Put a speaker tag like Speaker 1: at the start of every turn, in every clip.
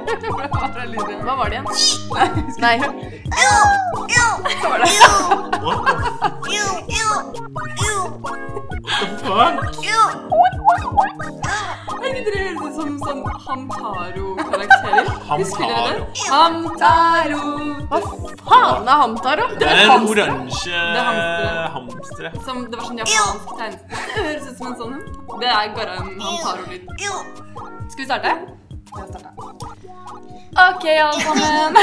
Speaker 1: Hva var det igjen? Nei. Hva var det?
Speaker 2: What the fuck?
Speaker 1: Herregud, dere høres ut som sånn Hamtaro-karakterer. Husker dere
Speaker 2: Hamtaro.
Speaker 1: det? Hamtaro. Hva faen er Hamtaro?
Speaker 2: Det
Speaker 1: er
Speaker 2: er
Speaker 1: et
Speaker 2: en
Speaker 1: hamster. er
Speaker 2: oransje
Speaker 1: hamstere.
Speaker 2: hamstere.
Speaker 1: Som, det var sånn japansk tegnspråk. Det høres ut som en sånn en. Det er bare en Hamtaro-lyd. Skal vi starte? OK, alle sammen.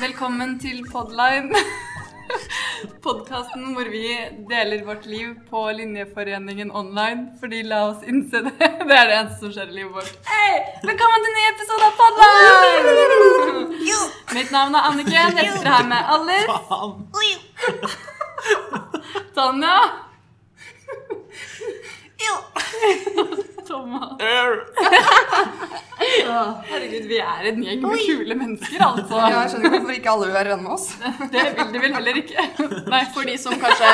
Speaker 1: Velkommen til Podline. Podkasten hvor vi deler vårt liv på Linjeforeningen online. Fordi la oss innse det. Det er det eneste som skjer i livet vårt. Hei! Velkommen til en ny episode av Podline! Mitt navn er Anniken. Jeg sitter her med Alice,
Speaker 2: Faen.
Speaker 1: Tanja, Thomas
Speaker 2: Er-
Speaker 1: Herregud, vi er en gjeng med kule mennesker, altså.
Speaker 3: Ja, jeg skjønner ikke hvorfor ikke alle vil være venner med oss.
Speaker 1: Det vil de vel heller ikke. Nei,
Speaker 4: For de som kanskje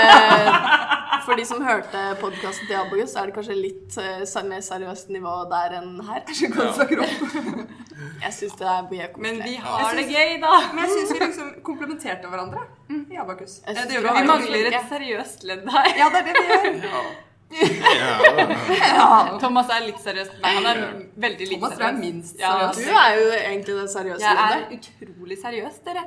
Speaker 4: For de som hørte podkasten til Abogus, så er det kanskje litt eh, ser- mer seriøst nivå der enn her.
Speaker 3: Hva du snakker om.
Speaker 4: Jeg syns det er mye
Speaker 1: Men vi
Speaker 4: koselig.
Speaker 1: har det gøy, da.
Speaker 3: Men jeg syns vi liksom komplementerte hverandre i Abakus.
Speaker 4: Jeg
Speaker 3: Ja,
Speaker 4: synes
Speaker 3: det gjør
Speaker 1: Vi
Speaker 4: vi
Speaker 3: vi.
Speaker 1: mangler et seriøst ledd her.
Speaker 3: Ja, det er det vi gjør.
Speaker 1: Thomas er litt seriøs. Nei, han er veldig lite
Speaker 3: Thomas tror jeg er
Speaker 1: seriøs.
Speaker 3: minst
Speaker 1: Ja. altså,
Speaker 4: Du
Speaker 3: seriøs.
Speaker 4: er jo egentlig den seriøse
Speaker 1: Jeg er Mm.
Speaker 4: lederen.
Speaker 1: utrolig seriøs, dere.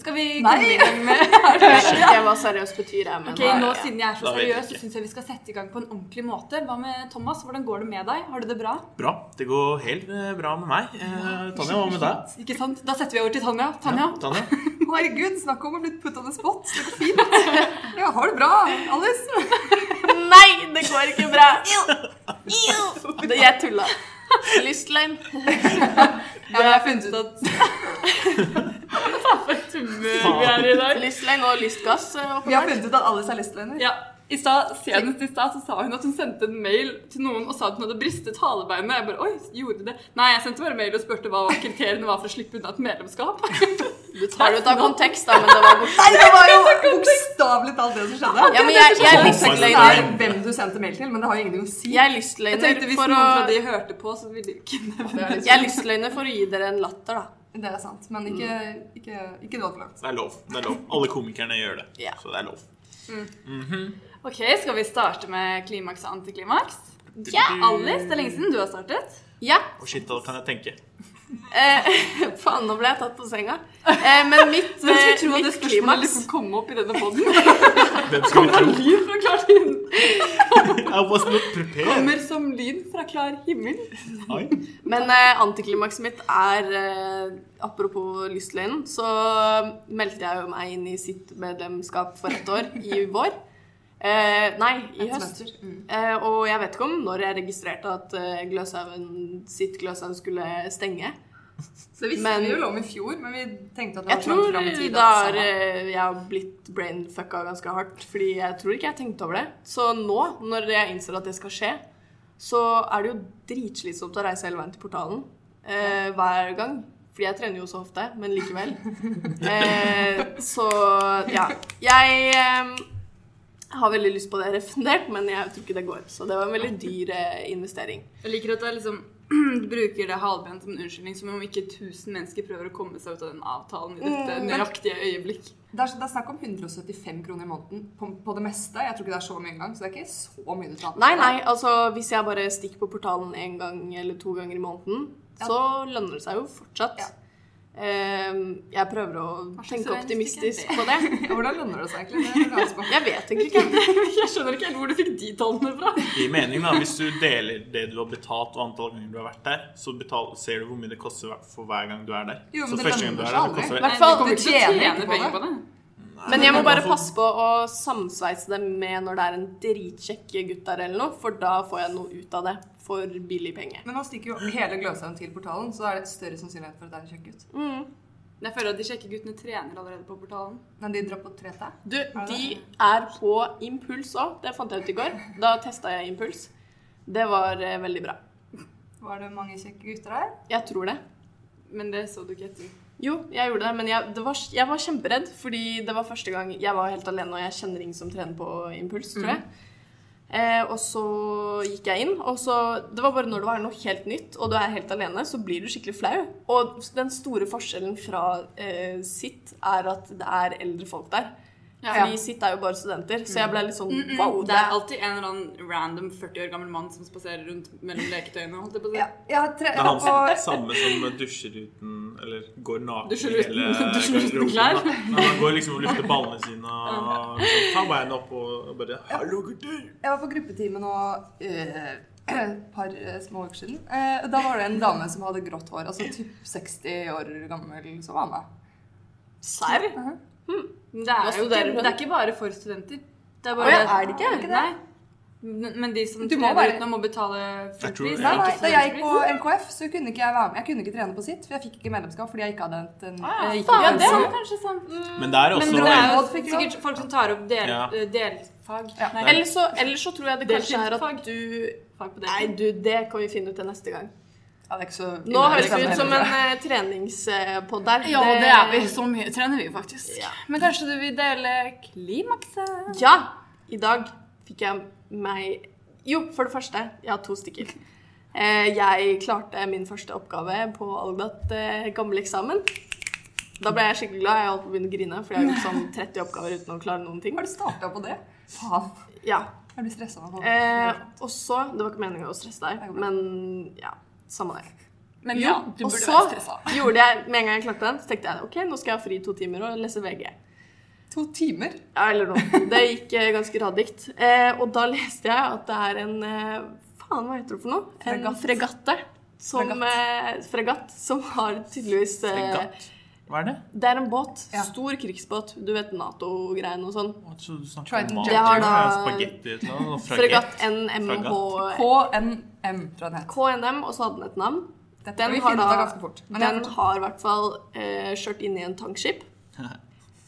Speaker 1: Skal vi
Speaker 3: Nei.
Speaker 1: komme i gang med
Speaker 4: Jeg skjønner ikke hva seriøs betyr, jeg, men
Speaker 1: Ok, nå Siden jeg er så
Speaker 2: Da vet jeg
Speaker 1: seriøs, så
Speaker 2: ikke.
Speaker 1: syns jeg vi skal sette i gang på en ordentlig måte. Hva med Thomas? Hvordan går det med deg? Har du det bra?
Speaker 2: Bra. Det går helt eh, bra med meg. Eh, Tanja, hva med deg?
Speaker 1: Ikke sant? Da setter vi over til Tanja. Tanja?
Speaker 2: Ja, Tanja?
Speaker 3: Herregud, snakk om å bli put on the spot. Det går fint. Ja, har det bra, Alice.
Speaker 4: Nei, det går ikke bra! Det- Jeg tulla. Lystløgn.
Speaker 1: Ja, jeg har funnet ut at For et humør vi er i i dag.
Speaker 4: Lystløgn og lystgass. eh,
Speaker 3: Vi har
Speaker 4: åpenbart.
Speaker 3: funnet ut at Alice er lestløgner.
Speaker 1: Ja, i stad, Senest i stad så sa hun at hun sendte en mail til noen og sa at hun hadde bristet halebeinet. Jeg bare, oi, gjorde det? Nei, jeg sendte bare mail og spurte hva kriteriene var for å slippe unna et medlemskap.
Speaker 4: Du tar det ut av kontekst, da, men det var borte.
Speaker 3: Nei, det var jo bokstavelig talt det som skjedde.
Speaker 4: Ja, men jeg, jeg er
Speaker 3: Det
Speaker 4: lystløgner.
Speaker 3: er hvem du sendte mail til, men det har jo ingenting å si.
Speaker 4: Jeg er
Speaker 1: Jeg
Speaker 4: lystløgner
Speaker 1: tenkte Hvis
Speaker 4: for
Speaker 1: noen fra
Speaker 4: å
Speaker 1: de hørte på, så ville de ikke nevne det.
Speaker 4: Jeg er lystløgner for å gi dere en latter, da.
Speaker 3: Det er sant, men ikke, ikke, ikke dra for langt.
Speaker 2: Det er lov. det er lov. Alle komikerne gjør det.
Speaker 4: Ja.
Speaker 2: Så det er lov.
Speaker 1: Mm. Ok, Skal vi starte med klimaks og antiklimaks?
Speaker 4: Ja,
Speaker 1: Alice, det er lenge siden du har startet.
Speaker 4: ja.
Speaker 2: Og shit, da kan jeg tenke.
Speaker 4: Eh, faen, nå ble jeg tatt på senga. Eh, men mitt,
Speaker 1: Hvem skulle
Speaker 4: eh,
Speaker 1: tro at det
Speaker 4: mitt
Speaker 1: spørsmålet
Speaker 4: klimaks
Speaker 1: liksom kom opp i denne poden?
Speaker 2: Hvem skal vi tro?
Speaker 1: Lyn fra klar himmel.
Speaker 2: I was not prepared.
Speaker 1: Kommer som lyn fra klar himmel.
Speaker 2: Oi.
Speaker 4: Men eh, antiklimakset mitt er eh, Apropos lystløgnen, så eh, meldte jeg jo meg inn i sitt medlemskap for et år i vår. Eh, nei, i høst.
Speaker 3: Semester. Mm.
Speaker 4: Eh, og jeg vet ikke om når jeg registrerte at eh, Gløshaugen sitt Gløshaugen skulle stenge.
Speaker 3: Det visste
Speaker 4: Men-
Speaker 3: vi jo om i fjor, men vi tenkte at det
Speaker 4: Jeg
Speaker 3: var langt
Speaker 4: tror
Speaker 3: fram altså. i tid.
Speaker 4: da
Speaker 3: at
Speaker 4: har
Speaker 3: det samme.
Speaker 4: eh, jeg har blitt brainfucka ganske hardt. Fordi jeg tror ikke jeg tenkte over det. Så nå, når jeg innser at det skal skje, så er det jo dritslitsomt å reise hele veien til portalen eh, hver gang. Fordi jeg trener jo så ofte, men likevel. Eh, så ja. Jeg eh, har veldig lyst på det refundert, men jeg tror ikke det går. Så det var en veldig dyr eh, investering.
Speaker 1: Jeg liker at jeg liksom bruker det halvbent som en unnskyldning, som om ikke 1000 mennesker prøver å komme seg ut av den avtalen i dette
Speaker 3: Mm, men-
Speaker 1: nøyaktige øyeblikk.
Speaker 3: Det er, det er snakk om 175 kroner i måneden på, på det meste. Jeg tror ikke det er så mye engang, så det er ikke så mye du taper.
Speaker 4: Nei, nei, altså hvis jeg bare stikker på portalen en gang eller to ganger i måneden,
Speaker 3: Ja.
Speaker 4: så lønner det seg jo fortsatt.
Speaker 3: Ja.
Speaker 4: Ehm, jeg prøver å
Speaker 1: slags
Speaker 4: tenke
Speaker 1: regnestykke
Speaker 4: optimistisk
Speaker 1: er
Speaker 4: på det.
Speaker 3: Ja, Hvordan lønner det seg egentlig? Det lurer jeg også på.
Speaker 4: Jeg vet egentlig ikke.
Speaker 1: Jeg skjønner ikke helt hvor du fikk de tallene fra.
Speaker 2: Det gir mening, da. Hvis du deler det du har betalt og antall ganger du har vært der, så betal, ser du hvor mye det koster hver- for hver gang du er der.
Speaker 3: Jo, men
Speaker 2: så
Speaker 3: det
Speaker 2: første gang du er
Speaker 3: lønner
Speaker 2: der,
Speaker 3: seg
Speaker 2: det
Speaker 3: aldri.
Speaker 2: koster
Speaker 4: I hvert fall,
Speaker 3: Du
Speaker 1: Du
Speaker 3: tjener
Speaker 1: tjener
Speaker 3: ikke på
Speaker 1: penger
Speaker 3: det.
Speaker 1: på det.
Speaker 4: men jeg må bare
Speaker 2: Nei,
Speaker 4: passe på å samsveise det med når det er en dritkjekk gutt der eller noe, for da får jeg noe ut av det for billig penge.
Speaker 3: Men nå stikker jo hele Gløshaugen til portalen, så da er det et større sannsynlighet for at det er en kjekk gutt.
Speaker 1: Men Jeg føler at de kjekke guttene trener allerede på portalen.
Speaker 3: Men de drar på trete.
Speaker 4: Du, de er på impuls òg. Det fant jeg ut i går. Da testa jeg impuls. Det var eh, veldig bra.
Speaker 3: Var det mange kjekke gutter her?
Speaker 4: Jeg tror det.
Speaker 1: Men det så du ikke etter.
Speaker 4: Jo, jeg gjorde det, men jeg, det var, jeg var kjemperedd. Fordi det var første gang jeg var helt alene, og jeg kjenner ingen som trener på impuls, tror jeg. Eh, og så gikk jeg inn, og så Det var bare når det var noe helt nytt, og du er helt alene, så blir du skikkelig flau. Og den store forskjellen fra eh, sitt er at det er eldre folk der. Fordi sitt er jo bare studenter, så jeg ble litt
Speaker 3: Mm,
Speaker 4: sånn wow.
Speaker 1: Mm, det er alltid en eller annen random 40 år gammel mann som spaserer rundt mellom leketøyene. Holdt jeg på å si.
Speaker 3: Ja, jeg har tre,
Speaker 2: Det er han
Speaker 3: og,
Speaker 2: som, samme som dusjer uten Eller går naken
Speaker 1: Dusjer
Speaker 2: i
Speaker 1: uten-
Speaker 2: hele
Speaker 1: dusjer uten
Speaker 2: garderoben,
Speaker 1: klær.
Speaker 2: da. Men Han går liksom og lufter ballene sine og så tar beina opp og bare 'Hallo, gutter!'
Speaker 3: Jeg var på gruppetime nå eh, et par eh, små uker siden. Eh, og da var det en dame som hadde grått hår, altså typ 60 år gammel, som var med.
Speaker 4: Serr?
Speaker 1: Hm. Men Det
Speaker 4: Hva
Speaker 1: er jo ikke,
Speaker 4: studerer du?
Speaker 1: det er ikke bare for studenter. Det er,
Speaker 4: Å
Speaker 1: bare,
Speaker 4: ja, er det ikke?
Speaker 3: Er det ikke det?
Speaker 1: Nei. Men men de som
Speaker 3: Du må
Speaker 1: studerer
Speaker 3: være-
Speaker 1: utenom, må betale
Speaker 2: Jeg tror-
Speaker 1: fullpris.
Speaker 2: ja.
Speaker 3: Nei, nei,
Speaker 1: ikke
Speaker 3: da jeg gikk
Speaker 1: studentpris.
Speaker 3: på NKF, så kunne ikke jeg være med. Jeg kunne ikke trene på sitt, for jeg fikk ikke medlemskap fordi jeg ikke hadde hent en
Speaker 1: Ah,
Speaker 3: jeg gikk
Speaker 1: faen,
Speaker 3: ikke
Speaker 1: ja,
Speaker 3: på
Speaker 1: det er
Speaker 3: NKF.
Speaker 1: jo kanskje sant.
Speaker 2: Men det er
Speaker 1: Men
Speaker 2: også
Speaker 1: det er jo
Speaker 3: Råd fikk lov.
Speaker 1: sikkert folk som tar opp del,
Speaker 2: Ja.
Speaker 1: eh, delfag.
Speaker 3: Ja.
Speaker 1: Nei,
Speaker 4: Eller så, eller så tror jeg det kanskje er
Speaker 1: Deltidsfag.
Speaker 4: at du
Speaker 1: fag på
Speaker 4: Nei,
Speaker 1: deltid.
Speaker 4: du, det kan vi finne ut til neste gang.
Speaker 3: Ja, det er ikke så
Speaker 4: Nå høres vi
Speaker 3: det
Speaker 4: ut som en eh,
Speaker 1: liksom.
Speaker 4: treningspod her.
Speaker 1: Ja, det er vi. Så mye trener vi faktisk.
Speaker 4: Ja.
Speaker 1: Men kanskje du vil dele klimakset?
Speaker 4: Ja! I dag fikk jeg meg Jo, for det første, jeg har to stykker. Eh, Jeg klarte min første oppgave på Algdat eh, gammel eksamen. Da ble jeg skikkelig glad. Jeg holdt på å begynne å grine, for jeg har gjort sånn 30 oppgaver uten å klare noen ting.
Speaker 3: Har du starta på det? Faen.
Speaker 4: Ja,
Speaker 3: Jeg blir stressa nå.
Speaker 4: eh, Og så Det var ikke meninga å stresse deg, men ja, samme det.
Speaker 1: Men
Speaker 4: Jo,
Speaker 1: ja, du
Speaker 4: og
Speaker 1: burde
Speaker 4: så
Speaker 1: være stressa.
Speaker 4: gjorde jeg, med en gang jeg klarte den, så tenkte jeg ok, nå skal jeg ha fri i to timer og lese VG.
Speaker 3: To timer?
Speaker 4: Ja, eller noe. Det gikk eh, ganske radikt. Eh, og da leste jeg at det er en eh, Faen, hva heter det for noe? En
Speaker 3: Fregatt.
Speaker 4: fregatte. Som, fregatt. Eh, fregatt som har tydeligvis eh,
Speaker 2: Fregatt. Hva er det?
Speaker 4: Det er en båt.
Speaker 3: Ja.
Speaker 4: Stor krigsbåt. Du vet Nato-greiene og sånn.
Speaker 2: Hva tror du snakker
Speaker 3: Trident
Speaker 2: om? mat?
Speaker 3: Jack.
Speaker 4: Jeg har da-
Speaker 2: Ja, Spagetti eller noe?
Speaker 4: Fregatt NMH
Speaker 3: KNM, tror jeg den het.
Speaker 4: KNM, og så hadde den et navn.
Speaker 3: Dette
Speaker 4: Den
Speaker 3: skal vi
Speaker 4: har
Speaker 3: finne ut av
Speaker 4: da-
Speaker 3: ganske fort. Men jeg
Speaker 4: Den har i hvert fall eh, kjørt inn i en tankskip.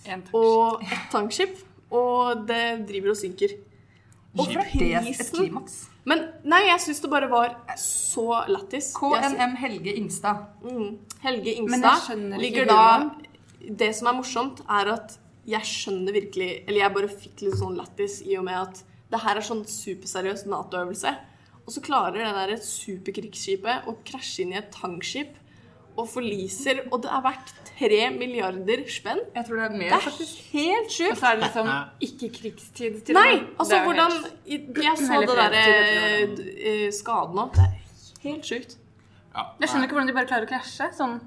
Speaker 1: En takk.
Speaker 4: og et tankskip, og det driver og synker. Og
Speaker 3: Hvorfor er det et klimaks?
Speaker 4: Men nei, jeg syns det bare var så lættis. Jeg sy-
Speaker 3: KNM Helge Ingstad.
Speaker 4: Mm.
Speaker 1: Men
Speaker 4: Helge
Speaker 1: jeg
Speaker 4: Ingstad
Speaker 1: skjønner ikke
Speaker 4: ligger da
Speaker 1: humoren.
Speaker 4: Det som er morsomt, er at jeg skjønner virkelig Eller jeg bare fikk litt sånn lættis i og med at det her er sånn superseriøs Nato-øvelse. Og så klarer det der superkrigsskipet å krasje inn i et tankskip og forliser, og det er verdt tre milliarder spenn.
Speaker 3: Jeg tror det er
Speaker 4: Det
Speaker 3: mer,
Speaker 4: er
Speaker 3: faktisk.
Speaker 4: helt sjukt.
Speaker 1: Og så er det liksom ikke krigstid til og
Speaker 4: Nei,
Speaker 1: med. Det
Speaker 4: altså
Speaker 1: er jo
Speaker 4: hvordan
Speaker 1: helt-
Speaker 4: i- Jeg så
Speaker 1: Eller
Speaker 4: det
Speaker 1: fredstid,
Speaker 4: derre
Speaker 1: jeg tror
Speaker 4: eh, skaden nå. Det er helt sjukt.
Speaker 1: Jeg skjønner ikke hvordan de bare klarer å krasje. Sånn.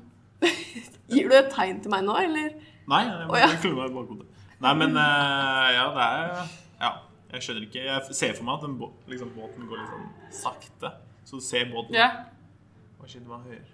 Speaker 4: Gir du et tegn til meg nå, eller?
Speaker 2: Nei, jeg må
Speaker 4: Å, ja.
Speaker 2: klemme meg i bakhodet. Nei, men eh, ja, det er Ja, jeg skjønner ikke. Jeg ser for meg at den bå liksom, båten går litt sånn sakte. Så du ser båten
Speaker 1: Ja.
Speaker 2: Hva skjedde med hører?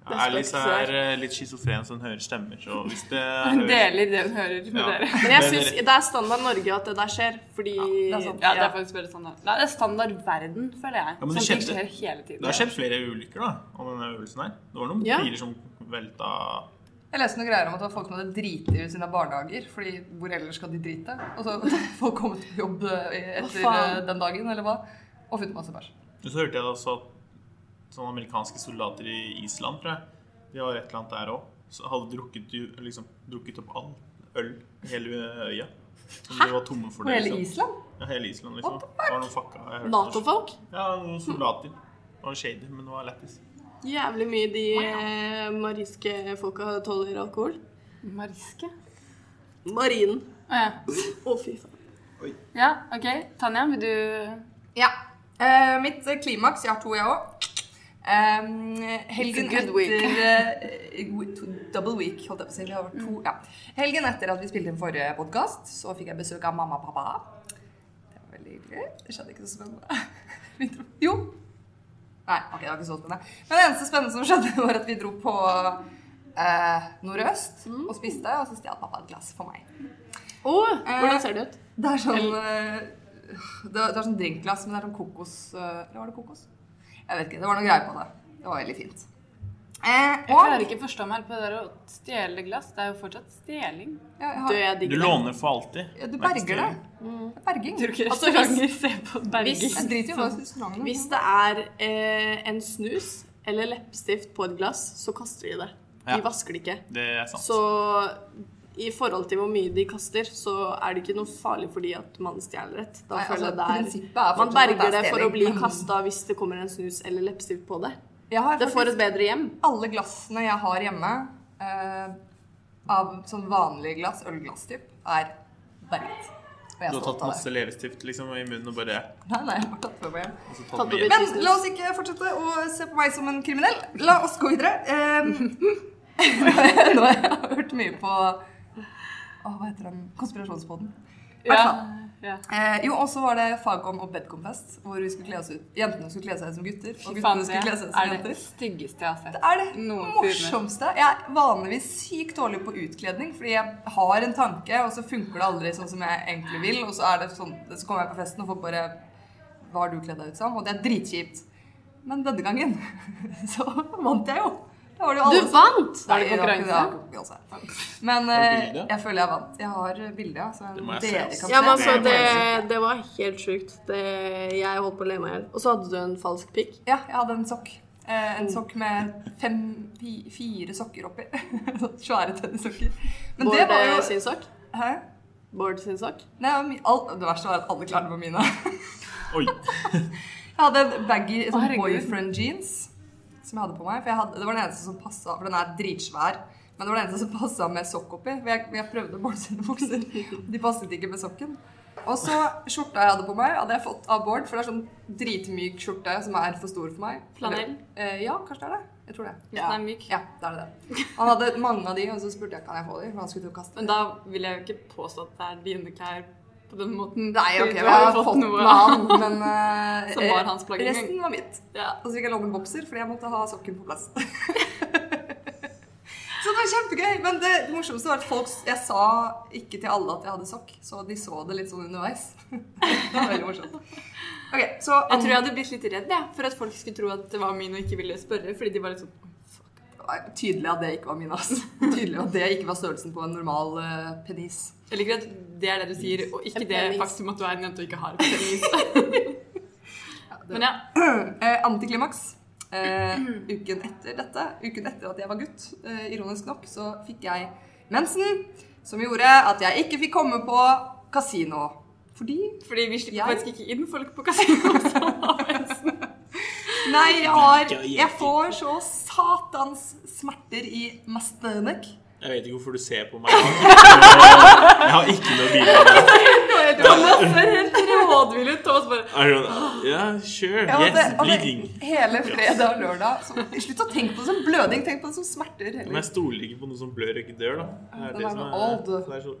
Speaker 2: Ja,
Speaker 4: Det er
Speaker 2: Alice
Speaker 4: spøkelser.
Speaker 2: er eh, litt schizofren, så hun hører stemmer. Så hvis det
Speaker 1: Hun
Speaker 2: hører-
Speaker 1: deler det hun hører med
Speaker 2: Ja.
Speaker 1: dere.
Speaker 4: Men jeg synes det er standard Norge at det der skjer, fordi
Speaker 3: det er sant.
Speaker 1: Ja, det er faktisk bare standard. Nei, det er standard verden, føler jeg.
Speaker 2: Ja, men det
Speaker 1: Sånne ting
Speaker 2: skjedde-
Speaker 1: skjer hele tiden.
Speaker 2: Det har skjedd flere ulykker da, om denne øvelsen her. Det var noen
Speaker 4: Ja.
Speaker 2: biler som velta
Speaker 3: Jeg leste noen greier om at det var folk som hadde driti ut sine barnehager. Fordi hvor ellers skal de drite? Og så hadde folk kommet på jobb eh, etter
Speaker 4: faen?
Speaker 3: eh, den dagen, eller hva? Og funnet masse bæsj.
Speaker 2: Og så hørte jeg også at sånne amerikanske soldater i Island, tror jeg, de var et eller annet der også, så hadde drukket, ju- liksom, drukket opp all øl i hele eh, øya. Som de var tomme for
Speaker 3: På
Speaker 2: det.
Speaker 3: hele
Speaker 2: liksom.
Speaker 3: Island?
Speaker 2: Ja, hele Island, liksom.
Speaker 3: What the
Speaker 2: Det var noen fucka jeg hørte.
Speaker 4: Nato-folk
Speaker 2: Ja, noen soldater. Det var shady, men det var lættis.
Speaker 4: Jævlig mye de eh, mariske folka tåler alkohol.
Speaker 1: Mariske?
Speaker 4: Marinen.
Speaker 1: Å ja.
Speaker 4: Å, fy faen.
Speaker 1: ja, OK. Tanja, vil du
Speaker 3: Ja. Eh, mitt eh, klimaks Jeg har to, jeg òg. helgen
Speaker 1: It's a good
Speaker 3: etter
Speaker 1: week.
Speaker 3: eh, we- to- Double week, holdt jeg på å si. Det har vært
Speaker 1: Mm.
Speaker 3: to, ja. Helgen etter at vi spilte inn forrige podkast, så fikk jeg besøk av mamma og pappa. Det var veldig hyggelig. Det skjedde ikke så spennende. Vi dro Jo. Nei, ok, det var ikke så spennende. Men det eneste spennende som skjedde, var at vi dro på eh, Nordøst
Speaker 1: Mm.
Speaker 3: og spiste, og så stjal pappa et glass for meg.
Speaker 4: Å, hvordan ser det ut?
Speaker 3: Det er sånn eh, det, det er sånn drinkglass, men det er sånn kokos eh, Eller var det kokos? Jeg vet ikke. Det var noe greier på det. Det var veldig fint. Eh,
Speaker 1: Jeg klarer ikke å forstå meg på det der å stjele glass. Det er jo fortsatt stjeling.
Speaker 3: ja, jeg
Speaker 4: Du,
Speaker 3: har,
Speaker 4: jeg
Speaker 2: Du
Speaker 4: digger det.
Speaker 2: låner for alltid.
Speaker 3: ja, du berger det. Det er berging.
Speaker 1: Mm. Tror ikke
Speaker 4: Altså,
Speaker 1: restauranter ser på
Speaker 4: hvis-
Speaker 1: berging.
Speaker 3: Jeg driter jo i hva restauranten
Speaker 4: Hvis det er eh, en snus eller leppestift på et glass, så kaster de det.
Speaker 2: Ja. Altså.
Speaker 4: De vasker det ikke.
Speaker 2: Det er sant.
Speaker 4: Så i forhold til hvor mye de kaster, så er det ikke noe farlig fordi at man stjeler et. Da
Speaker 3: Nei,
Speaker 4: føler
Speaker 3: altså,
Speaker 4: jeg det er-
Speaker 3: prinsippet
Speaker 4: Man
Speaker 3: er fortsatt at det
Speaker 4: berger
Speaker 3: er
Speaker 4: det for å
Speaker 3: stjeling,
Speaker 4: bli
Speaker 3: men-
Speaker 4: kasta hvis det kommer en snus eller leppestift på det.
Speaker 3: liksom. Jeg har
Speaker 4: Det får
Speaker 3: faktisk
Speaker 4: et bedre hjem.
Speaker 3: alle glassene jeg har hjemme, eh, av sånn vanlige glass, ølglass typ, er berget. Og jeg
Speaker 2: Du har
Speaker 3: er
Speaker 2: tatt
Speaker 3: stolt av det.
Speaker 2: masse leppestift liksom, i munnen og bare
Speaker 3: Nei, nei, jeg har tatt med meg hjem.
Speaker 2: og så
Speaker 4: Tatt
Speaker 2: tatt
Speaker 4: opp
Speaker 2: med
Speaker 4: i-
Speaker 2: hjem.
Speaker 3: Men la oss ikke fortsette å se på meg som en kriminell. La oss gå videre. Eh, Nå har jeg hørt mye på Åh, Hva heter den? Konspirasjonspodden.
Speaker 1: Ja. ja.
Speaker 3: Eh, jo, og så var det Fagcon og Bedcon-fest, hvor vi skulle kle oss ut. jentene skulle kle seg som gutter. Og
Speaker 1: Fy
Speaker 3: guttene
Speaker 1: faen,
Speaker 3: skulle
Speaker 1: det
Speaker 3: kle seg som
Speaker 1: er det
Speaker 3: jenter.
Speaker 1: styggeste jeg har sett.
Speaker 3: Det er det
Speaker 1: Noen
Speaker 3: morsomste. Jeg er vanligvis sykt dårlig på utkledning, fordi jeg har en tanke, og så funker det aldri sånn som jeg egentlig vil. Og så, er det sånn, så kommer jeg på festen, og folk bare Hva har du kledd deg ut som? Og det er dritkjipt. Men denne gangen så vant jeg jo. Da var det jo
Speaker 4: Du
Speaker 3: alle som-
Speaker 1: Var
Speaker 4: vant!
Speaker 1: det
Speaker 3: Nei, var ikke
Speaker 1: konkurranse?
Speaker 3: det, det var konkurranse. Men
Speaker 2: Har du
Speaker 3: eh,
Speaker 2: bilde?
Speaker 3: jeg føler jeg vant. Jeg har eh, bilde, ja. Så
Speaker 2: Det må jeg
Speaker 3: dere
Speaker 2: se.
Speaker 3: kan
Speaker 4: Ja, men
Speaker 3: se.
Speaker 4: altså,
Speaker 2: Det
Speaker 4: det, det var helt sjukt. Det, jeg holdt på å le meg i hjel. Og så hadde du en falsk pikk.
Speaker 3: Ja, jeg hadde en sokk. Eh,
Speaker 1: Mm.
Speaker 3: en sokk med fem, fi, fire sokker oppi. Sånn Svære tennissokker. Men det
Speaker 4: Bård
Speaker 3: var
Speaker 4: eh,
Speaker 3: jo
Speaker 4: sin sokk.
Speaker 3: Hæ?
Speaker 4: Bård sin sokk.
Speaker 3: Nei, det var mi- all, det verste var at alle klærne var mine.
Speaker 2: Oi.
Speaker 3: Jeg hadde en baggy
Speaker 1: Å,
Speaker 3: sånn
Speaker 1: herregud.
Speaker 3: boyfriend jeans som jeg hadde på meg. For jeg hadde, det var den eneste som passa, for den er dritsvær. Men det var den eneste som passa med sokk oppi. For jeg, jeg prøvde Bård sine bukser. De passet ikke med sokken. Og så skjorta jeg hadde på meg, hadde jeg fått av Bård. For det er sånn dritmyk skjorte som er for stor for meg.
Speaker 4: Flanell?
Speaker 3: Eller, eh, ja, kanskje det er det. Jeg tror det.
Speaker 1: Ja. Den er myk.
Speaker 3: Ja, det er det. det. Han hadde mange av de, og så spurte jeg kan jeg få de, for han skulle til å kaste
Speaker 1: Men
Speaker 3: de.
Speaker 1: da vil jeg jo ikke påstå at det er dine klær på den måten.
Speaker 3: Nei, ok,
Speaker 1: Du
Speaker 3: jeg
Speaker 1: har
Speaker 3: har
Speaker 1: jo
Speaker 3: fått
Speaker 1: noe.
Speaker 3: med han, men eh,
Speaker 1: Som var hans plagg en gang.
Speaker 3: Resten var mitt.
Speaker 1: Ja.
Speaker 3: Og så fikk jeg låne en bokser, fordi jeg måtte ha sokken på plass. så det var kjempegøy. Men det morsomste var at folk Jeg sa ikke til alle at jeg hadde sokk, så de så det litt sånn underveis. det var veldig morsomt. Ok, så
Speaker 1: Jeg tror jeg hadde blitt litt redd jeg, for at folk skulle tro at det var min og ikke ville spørre. Fordi de var litt sånn «Oi, fuck.
Speaker 3: Nei, Tydelig at det ikke var min, ass. Tydelig at det ikke var størrelsen på en normal eh, penis.
Speaker 1: Jeg liker at det er det du sier, og ikke
Speaker 4: En
Speaker 1: det
Speaker 4: penis.
Speaker 1: faktum at du er en jente og ikke har et penis.
Speaker 3: det
Speaker 1: Men ja,
Speaker 3: Eh, antiklimaks. Eh, uken etter dette, uken etter at jeg var gutt, eh, ironisk nok, så fikk jeg mensen, som gjorde at jeg ikke fikk komme på kasino. Fordi
Speaker 1: fordi vi slipper
Speaker 3: Jeg-
Speaker 1: faktisk ikke inn folk på kasino. som har mensen.
Speaker 3: Nei, jeg har Jeg får så satans smerter i mastenek.
Speaker 2: Jeg vet ikke hvorfor du ser på meg. Jeg har ikke noe bilde.
Speaker 1: Thomas var helt rådvill ut. Thomas bare
Speaker 2: Er du sånn Ja, sure.
Speaker 3: Jeg
Speaker 2: Yes,
Speaker 3: hadde- hadde
Speaker 2: bleeding.
Speaker 3: Hele fredag og lørdag. Så, slutt å tenke på det som blødning, tenk på det som smerter.
Speaker 2: Men
Speaker 3: Heller.
Speaker 2: jeg stoler ikke på noe som blør og ikke dør, da. Det
Speaker 3: Den
Speaker 2: er det
Speaker 3: er
Speaker 2: som
Speaker 3: noe old.
Speaker 2: er, det er så,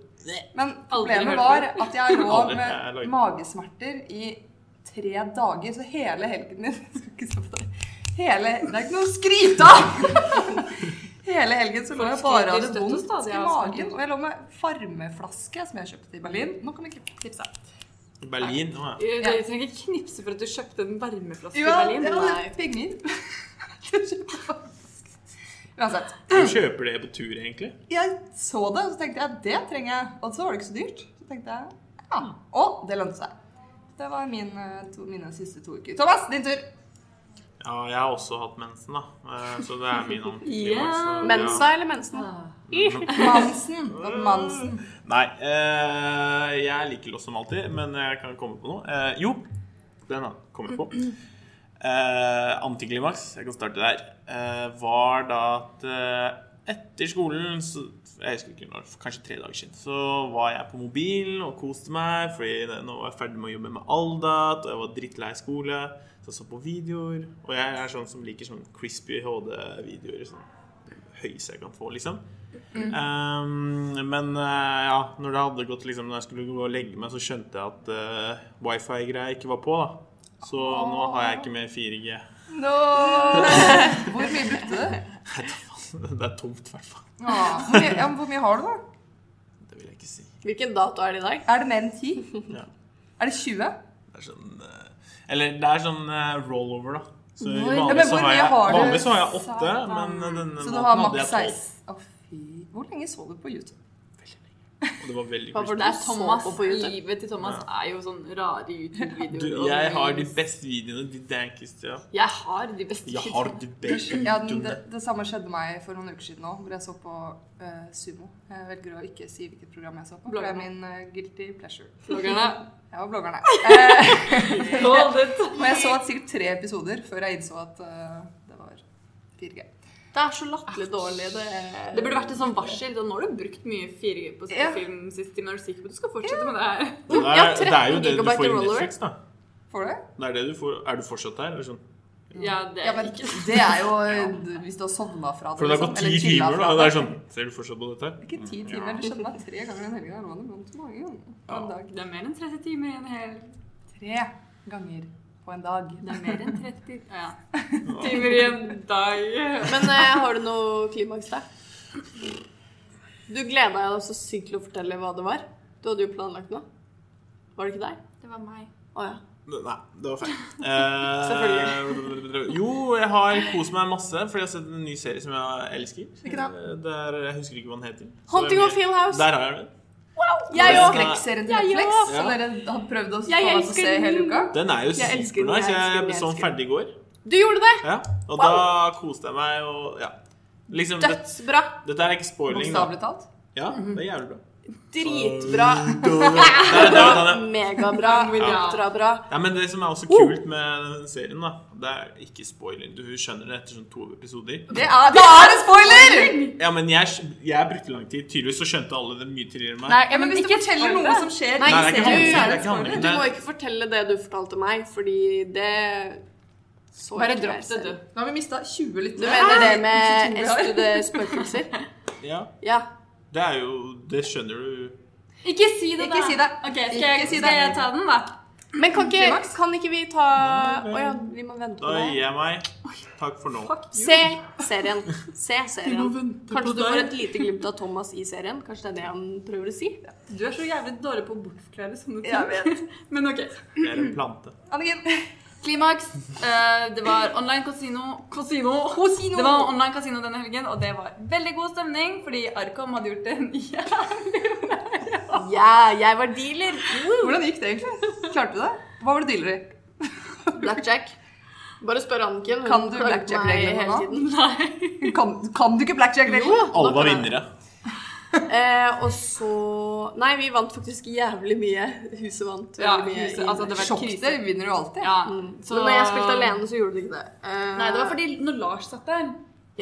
Speaker 3: Men
Speaker 1: Aldri
Speaker 3: problemet
Speaker 1: hørt
Speaker 3: var
Speaker 1: før.
Speaker 3: at jeg lå
Speaker 2: Aldri. Jeg er
Speaker 3: med
Speaker 2: laget.
Speaker 3: magesmerter i tre dager, så hele helgen din Jeg skal ikke se på deg. Hele, det er ikke noe å skryte av! Hele helgen så lå
Speaker 1: Folk
Speaker 3: jeg bare og
Speaker 1: skryter
Speaker 3: hadde
Speaker 1: støtt og
Speaker 3: vondt
Speaker 1: stadig
Speaker 3: i
Speaker 1: av
Speaker 3: magen.
Speaker 1: smerter.
Speaker 3: Og jeg lå med farmeflaske som jeg kjøpte i Berlin. Nå kan vi ikke tipse.
Speaker 2: Berlin. Å, ja.
Speaker 1: Eh, Du trenger ikke knipse for at du kjøpte en varmeflaske
Speaker 3: Jo,
Speaker 1: i
Speaker 3: jeg
Speaker 1: Berlin.
Speaker 3: hadde penger. Jeg kjøpte farmeflaske. Uansett.
Speaker 2: Du kjøper det på tur, egentlig?
Speaker 3: jeg så det, og så tenkte jeg det trenger jeg. Og så var det ikke så dyrt. Så tenkte jeg ja. Og det lønte seg. Det var min, eh, to, mine siste to uker. Thomas, din tur.
Speaker 2: Ja, jeg har også hatt mensen, da. Eh, Så det er min antiklimaks.
Speaker 1: Ja.
Speaker 2: så-
Speaker 4: Mensa eller mensen?
Speaker 3: Mansen. Det var Mansen.
Speaker 2: Nei, eh, jeg liker loss som alltid, men jeg kan komme på noe. Eh, jo, den da, kommer jeg på. Eh, antiklimaks, jeg kan starte der, eh, var da at eh, etter skolen, så, jeg husker ikke når, for kanskje tre dager siden, så var jeg på mobilen og koste meg, fordi det- nå var jeg ferdig med å jobbe med Aldat, og jeg var drittlei skole, så jeg så på videoer, og jeg er sånn som liker sånn crispy HD-videoer, sånn høyeste jeg kan få, liksom.
Speaker 3: Mm.
Speaker 2: Um, men eh, ja, når det hadde gått liksom, Når jeg skulle gå og legge meg, så skjønte jeg at eh, wifi-greia ikke var på. da Så nå har jeg ikke mer 4G.
Speaker 3: No. Hvor mye brukte du?
Speaker 2: Det er tomt, i hvert fall.
Speaker 3: Ja, hvor, mye, ja, men hvor mye har du, da?
Speaker 2: Det vil jeg ikke si.
Speaker 4: Hvilken dato er det i dag?
Speaker 3: Er det mer enn 10?
Speaker 2: Ja.
Speaker 3: Er det 20?
Speaker 2: Det er sånn eh, Eller det er sånn eh, rollover, da. Så
Speaker 1: Hvor-
Speaker 3: Ja, men
Speaker 2: vanligvis så
Speaker 3: hvor
Speaker 2: har
Speaker 3: mye
Speaker 2: jeg,
Speaker 3: har du?
Speaker 2: vanligvis så har jeg åtte,
Speaker 1: Satan.
Speaker 2: men eh, denne
Speaker 3: Så du
Speaker 2: måten
Speaker 3: har
Speaker 2: hadde jeg
Speaker 3: maks 6?
Speaker 2: tolv.
Speaker 3: Å, fy. Hvor lenge så du på YouTube?
Speaker 2: Og Det var veldig
Speaker 4: Hva
Speaker 2: creepy.
Speaker 4: var det?
Speaker 1: Det er
Speaker 4: Så
Speaker 1: Thomas,
Speaker 4: på på YouTube.
Speaker 1: Livet til Thomas er jo sånn rare
Speaker 2: Du,
Speaker 1: YouTube-videoer. og
Speaker 2: jeg har de
Speaker 1: reels.
Speaker 2: beste videoene, de dankeste. Ja.
Speaker 1: Jeg har de beste
Speaker 2: Jeg har de beste
Speaker 3: Ja, den, det,
Speaker 2: videoene.
Speaker 3: det samme skjedde meg for noen uker siden òg, hvor jeg så på eh, Sumo. Jeg velger å ikke si hvilket program jeg så på. for Det er min eh, guilty pleasure.
Speaker 1: bloggerne.
Speaker 3: Jeg var bloggeren, jeg.
Speaker 1: Hold it.
Speaker 3: Eh, og jeg så sikkert tre episoder før jeg innså at eh, det var 4G.
Speaker 4: Det er så latterlig dårlig. Det,
Speaker 1: Det burde vært et sånn varsel. Da, nå har du brukt mye 4G på
Speaker 3: Ja.
Speaker 1: film sist time. Er du sikker på at du skal fortsette med det her?
Speaker 2: Det
Speaker 4: Ja,
Speaker 2: er, det er jo det
Speaker 4: 13
Speaker 2: du
Speaker 4: gigabyte
Speaker 2: får i
Speaker 4: rollover.
Speaker 2: Netflix, da.
Speaker 3: Får du det?
Speaker 2: Det er, det du får. er du fortsatt der? Eller sånn?
Speaker 1: Ja, det
Speaker 3: Ja,
Speaker 1: er
Speaker 3: men
Speaker 1: ikke
Speaker 3: det er jo eh, hvis du har sovna fra
Speaker 2: For det har
Speaker 3: liksom,
Speaker 4: sånn,
Speaker 2: gått
Speaker 3: eller
Speaker 2: ti
Speaker 3: chillet
Speaker 2: timer, da.
Speaker 3: fra
Speaker 2: og
Speaker 4: altså.
Speaker 2: Det er sånn Ser du fortsatt på dette? her?
Speaker 3: Ikke ti timer. Det skjedde meg tre ganger den helga. Det var noe mange ganger på en dag.
Speaker 1: Det er mer enn 30 timer i en hel
Speaker 3: Tre ganger på en dag.
Speaker 1: Det er mer enn 30 ja. timer i en dag.
Speaker 4: Men eh, har du noe klimaks der? Du gleda deg da så sykt til å fortelle hva det var. Du hadde jo planlagt noe. Var det ikke deg?
Speaker 1: Det var meg.
Speaker 4: Å ja.
Speaker 2: Nei, det var feil. Eh, jo, jeg har kost meg masse, fordi jeg har sett en ny serie som jeg elsker. Eh, Det er, jeg husker ikke hva den heter. Så
Speaker 4: Haunting
Speaker 2: jeg-
Speaker 4: of Hill House.
Speaker 2: Der har jeg den.
Speaker 4: Jeg
Speaker 3: Den
Speaker 2: også.
Speaker 4: òg.
Speaker 3: Skrekkserien til
Speaker 4: Jeg
Speaker 3: Netflix
Speaker 4: også.
Speaker 3: som dere har prøvd å få
Speaker 4: Jeg
Speaker 3: meg til å
Speaker 4: elsker
Speaker 3: se hele
Speaker 4: den.
Speaker 3: uka.
Speaker 2: Den er jo
Speaker 4: Jeg elsker den, jeg
Speaker 2: supernice.
Speaker 4: elsker
Speaker 2: Jeg
Speaker 4: den,
Speaker 2: ble
Speaker 4: jeg
Speaker 2: sånn
Speaker 4: elsker den.
Speaker 2: ferdig i går.
Speaker 4: Du gjorde det!
Speaker 2: Ja. Og da koste jeg meg og ja. Liksom, det,
Speaker 4: Dødsbra.
Speaker 2: dette er ikke spoiling, da.
Speaker 3: Bokstavelig talt.
Speaker 2: Ja, det er jævlig bra.
Speaker 4: Mhm. Dritbra.
Speaker 2: Nei, det var den, ja.
Speaker 4: Megabra. Ultrabra.
Speaker 2: Ja, men Det som er også kult med den serien, da det er ikke spoiling. Du skjønner det etter sånn to episoder.
Speaker 3: Det er, det er en spoiler!
Speaker 2: Ja, men jeg, jeg brukte lang tid. Tydeligvis så skjønte alle det mye tidligere enn meg.
Speaker 1: Nei,
Speaker 3: Ja, men hvis du forteller noe som skjer
Speaker 4: Nei,
Speaker 2: det
Speaker 3: i
Speaker 2: er ikke
Speaker 3: serien,
Speaker 2: handling, det
Speaker 3: så er
Speaker 2: er
Speaker 3: det
Speaker 2: ikke handling.
Speaker 3: spoiler.
Speaker 4: Du må ikke fortelle det du fortalte meg, fordi det så
Speaker 1: Bare
Speaker 4: ikke jeg
Speaker 1: dropp det,
Speaker 4: selv.
Speaker 1: du. Ah!
Speaker 3: Nå har vi mista 20
Speaker 4: Du
Speaker 3: lyttere.
Speaker 4: mener det med
Speaker 3: Ikke to vi har.
Speaker 4: estude spøkelser?
Speaker 2: Ja,
Speaker 4: Ja.
Speaker 2: det er jo Det skjønner du.
Speaker 1: Ikke si det, da.
Speaker 3: Ikke si det.
Speaker 1: Ok, skal, jeg,
Speaker 3: Ikke si det.
Speaker 1: skal jeg ta den, da?
Speaker 4: Men kan ikke,
Speaker 3: Klimaks?
Speaker 4: kan ikke vi ta Å
Speaker 2: Nei,
Speaker 4: ja, vi må vente på
Speaker 2: Da gir
Speaker 4: det.
Speaker 2: jeg meg. Takk for nå.
Speaker 4: Se serien. Se serien.
Speaker 2: vente
Speaker 4: Kanskje du får et lite glimt av Thomas i serien? Kanskje det er det han prøver å si?
Speaker 1: Du er så jævlig dårlig på å bortforklare sånne ting.
Speaker 3: Jeg vet.
Speaker 1: Men ok.
Speaker 2: Jeg er en plante.
Speaker 3: Anniken.
Speaker 1: Klimaks. Eh, det var online kasino Kasino!
Speaker 3: Casino.
Speaker 1: Det var online kasino denne helgen, og det var veldig god stemning, fordi Arkom hadde gjort en
Speaker 4: Ja, jeg var dealer.
Speaker 3: Hvordan gikk det egentlig? Klarte du det? Hva var det dealer i?
Speaker 4: Blackjack. Bare spør Anniken.
Speaker 3: Kan du blackjack-reglene nå?
Speaker 1: Nei.
Speaker 3: Kan, kan du ikke blackjack lenger?
Speaker 2: Alle var vinnere.
Speaker 4: Eh, og så Nei, vi vant faktisk jævlig mye. Huset vant veldig
Speaker 1: Ja,
Speaker 4: mye.
Speaker 1: huset, altså det var
Speaker 3: Sjokk,
Speaker 1: krise.
Speaker 3: det vinner du alltid.
Speaker 1: Ja,
Speaker 4: så... Men når jeg spilte alene, så gjorde det ikke det. Eh,
Speaker 1: Mm. Nei, det var fordi når Lars satt der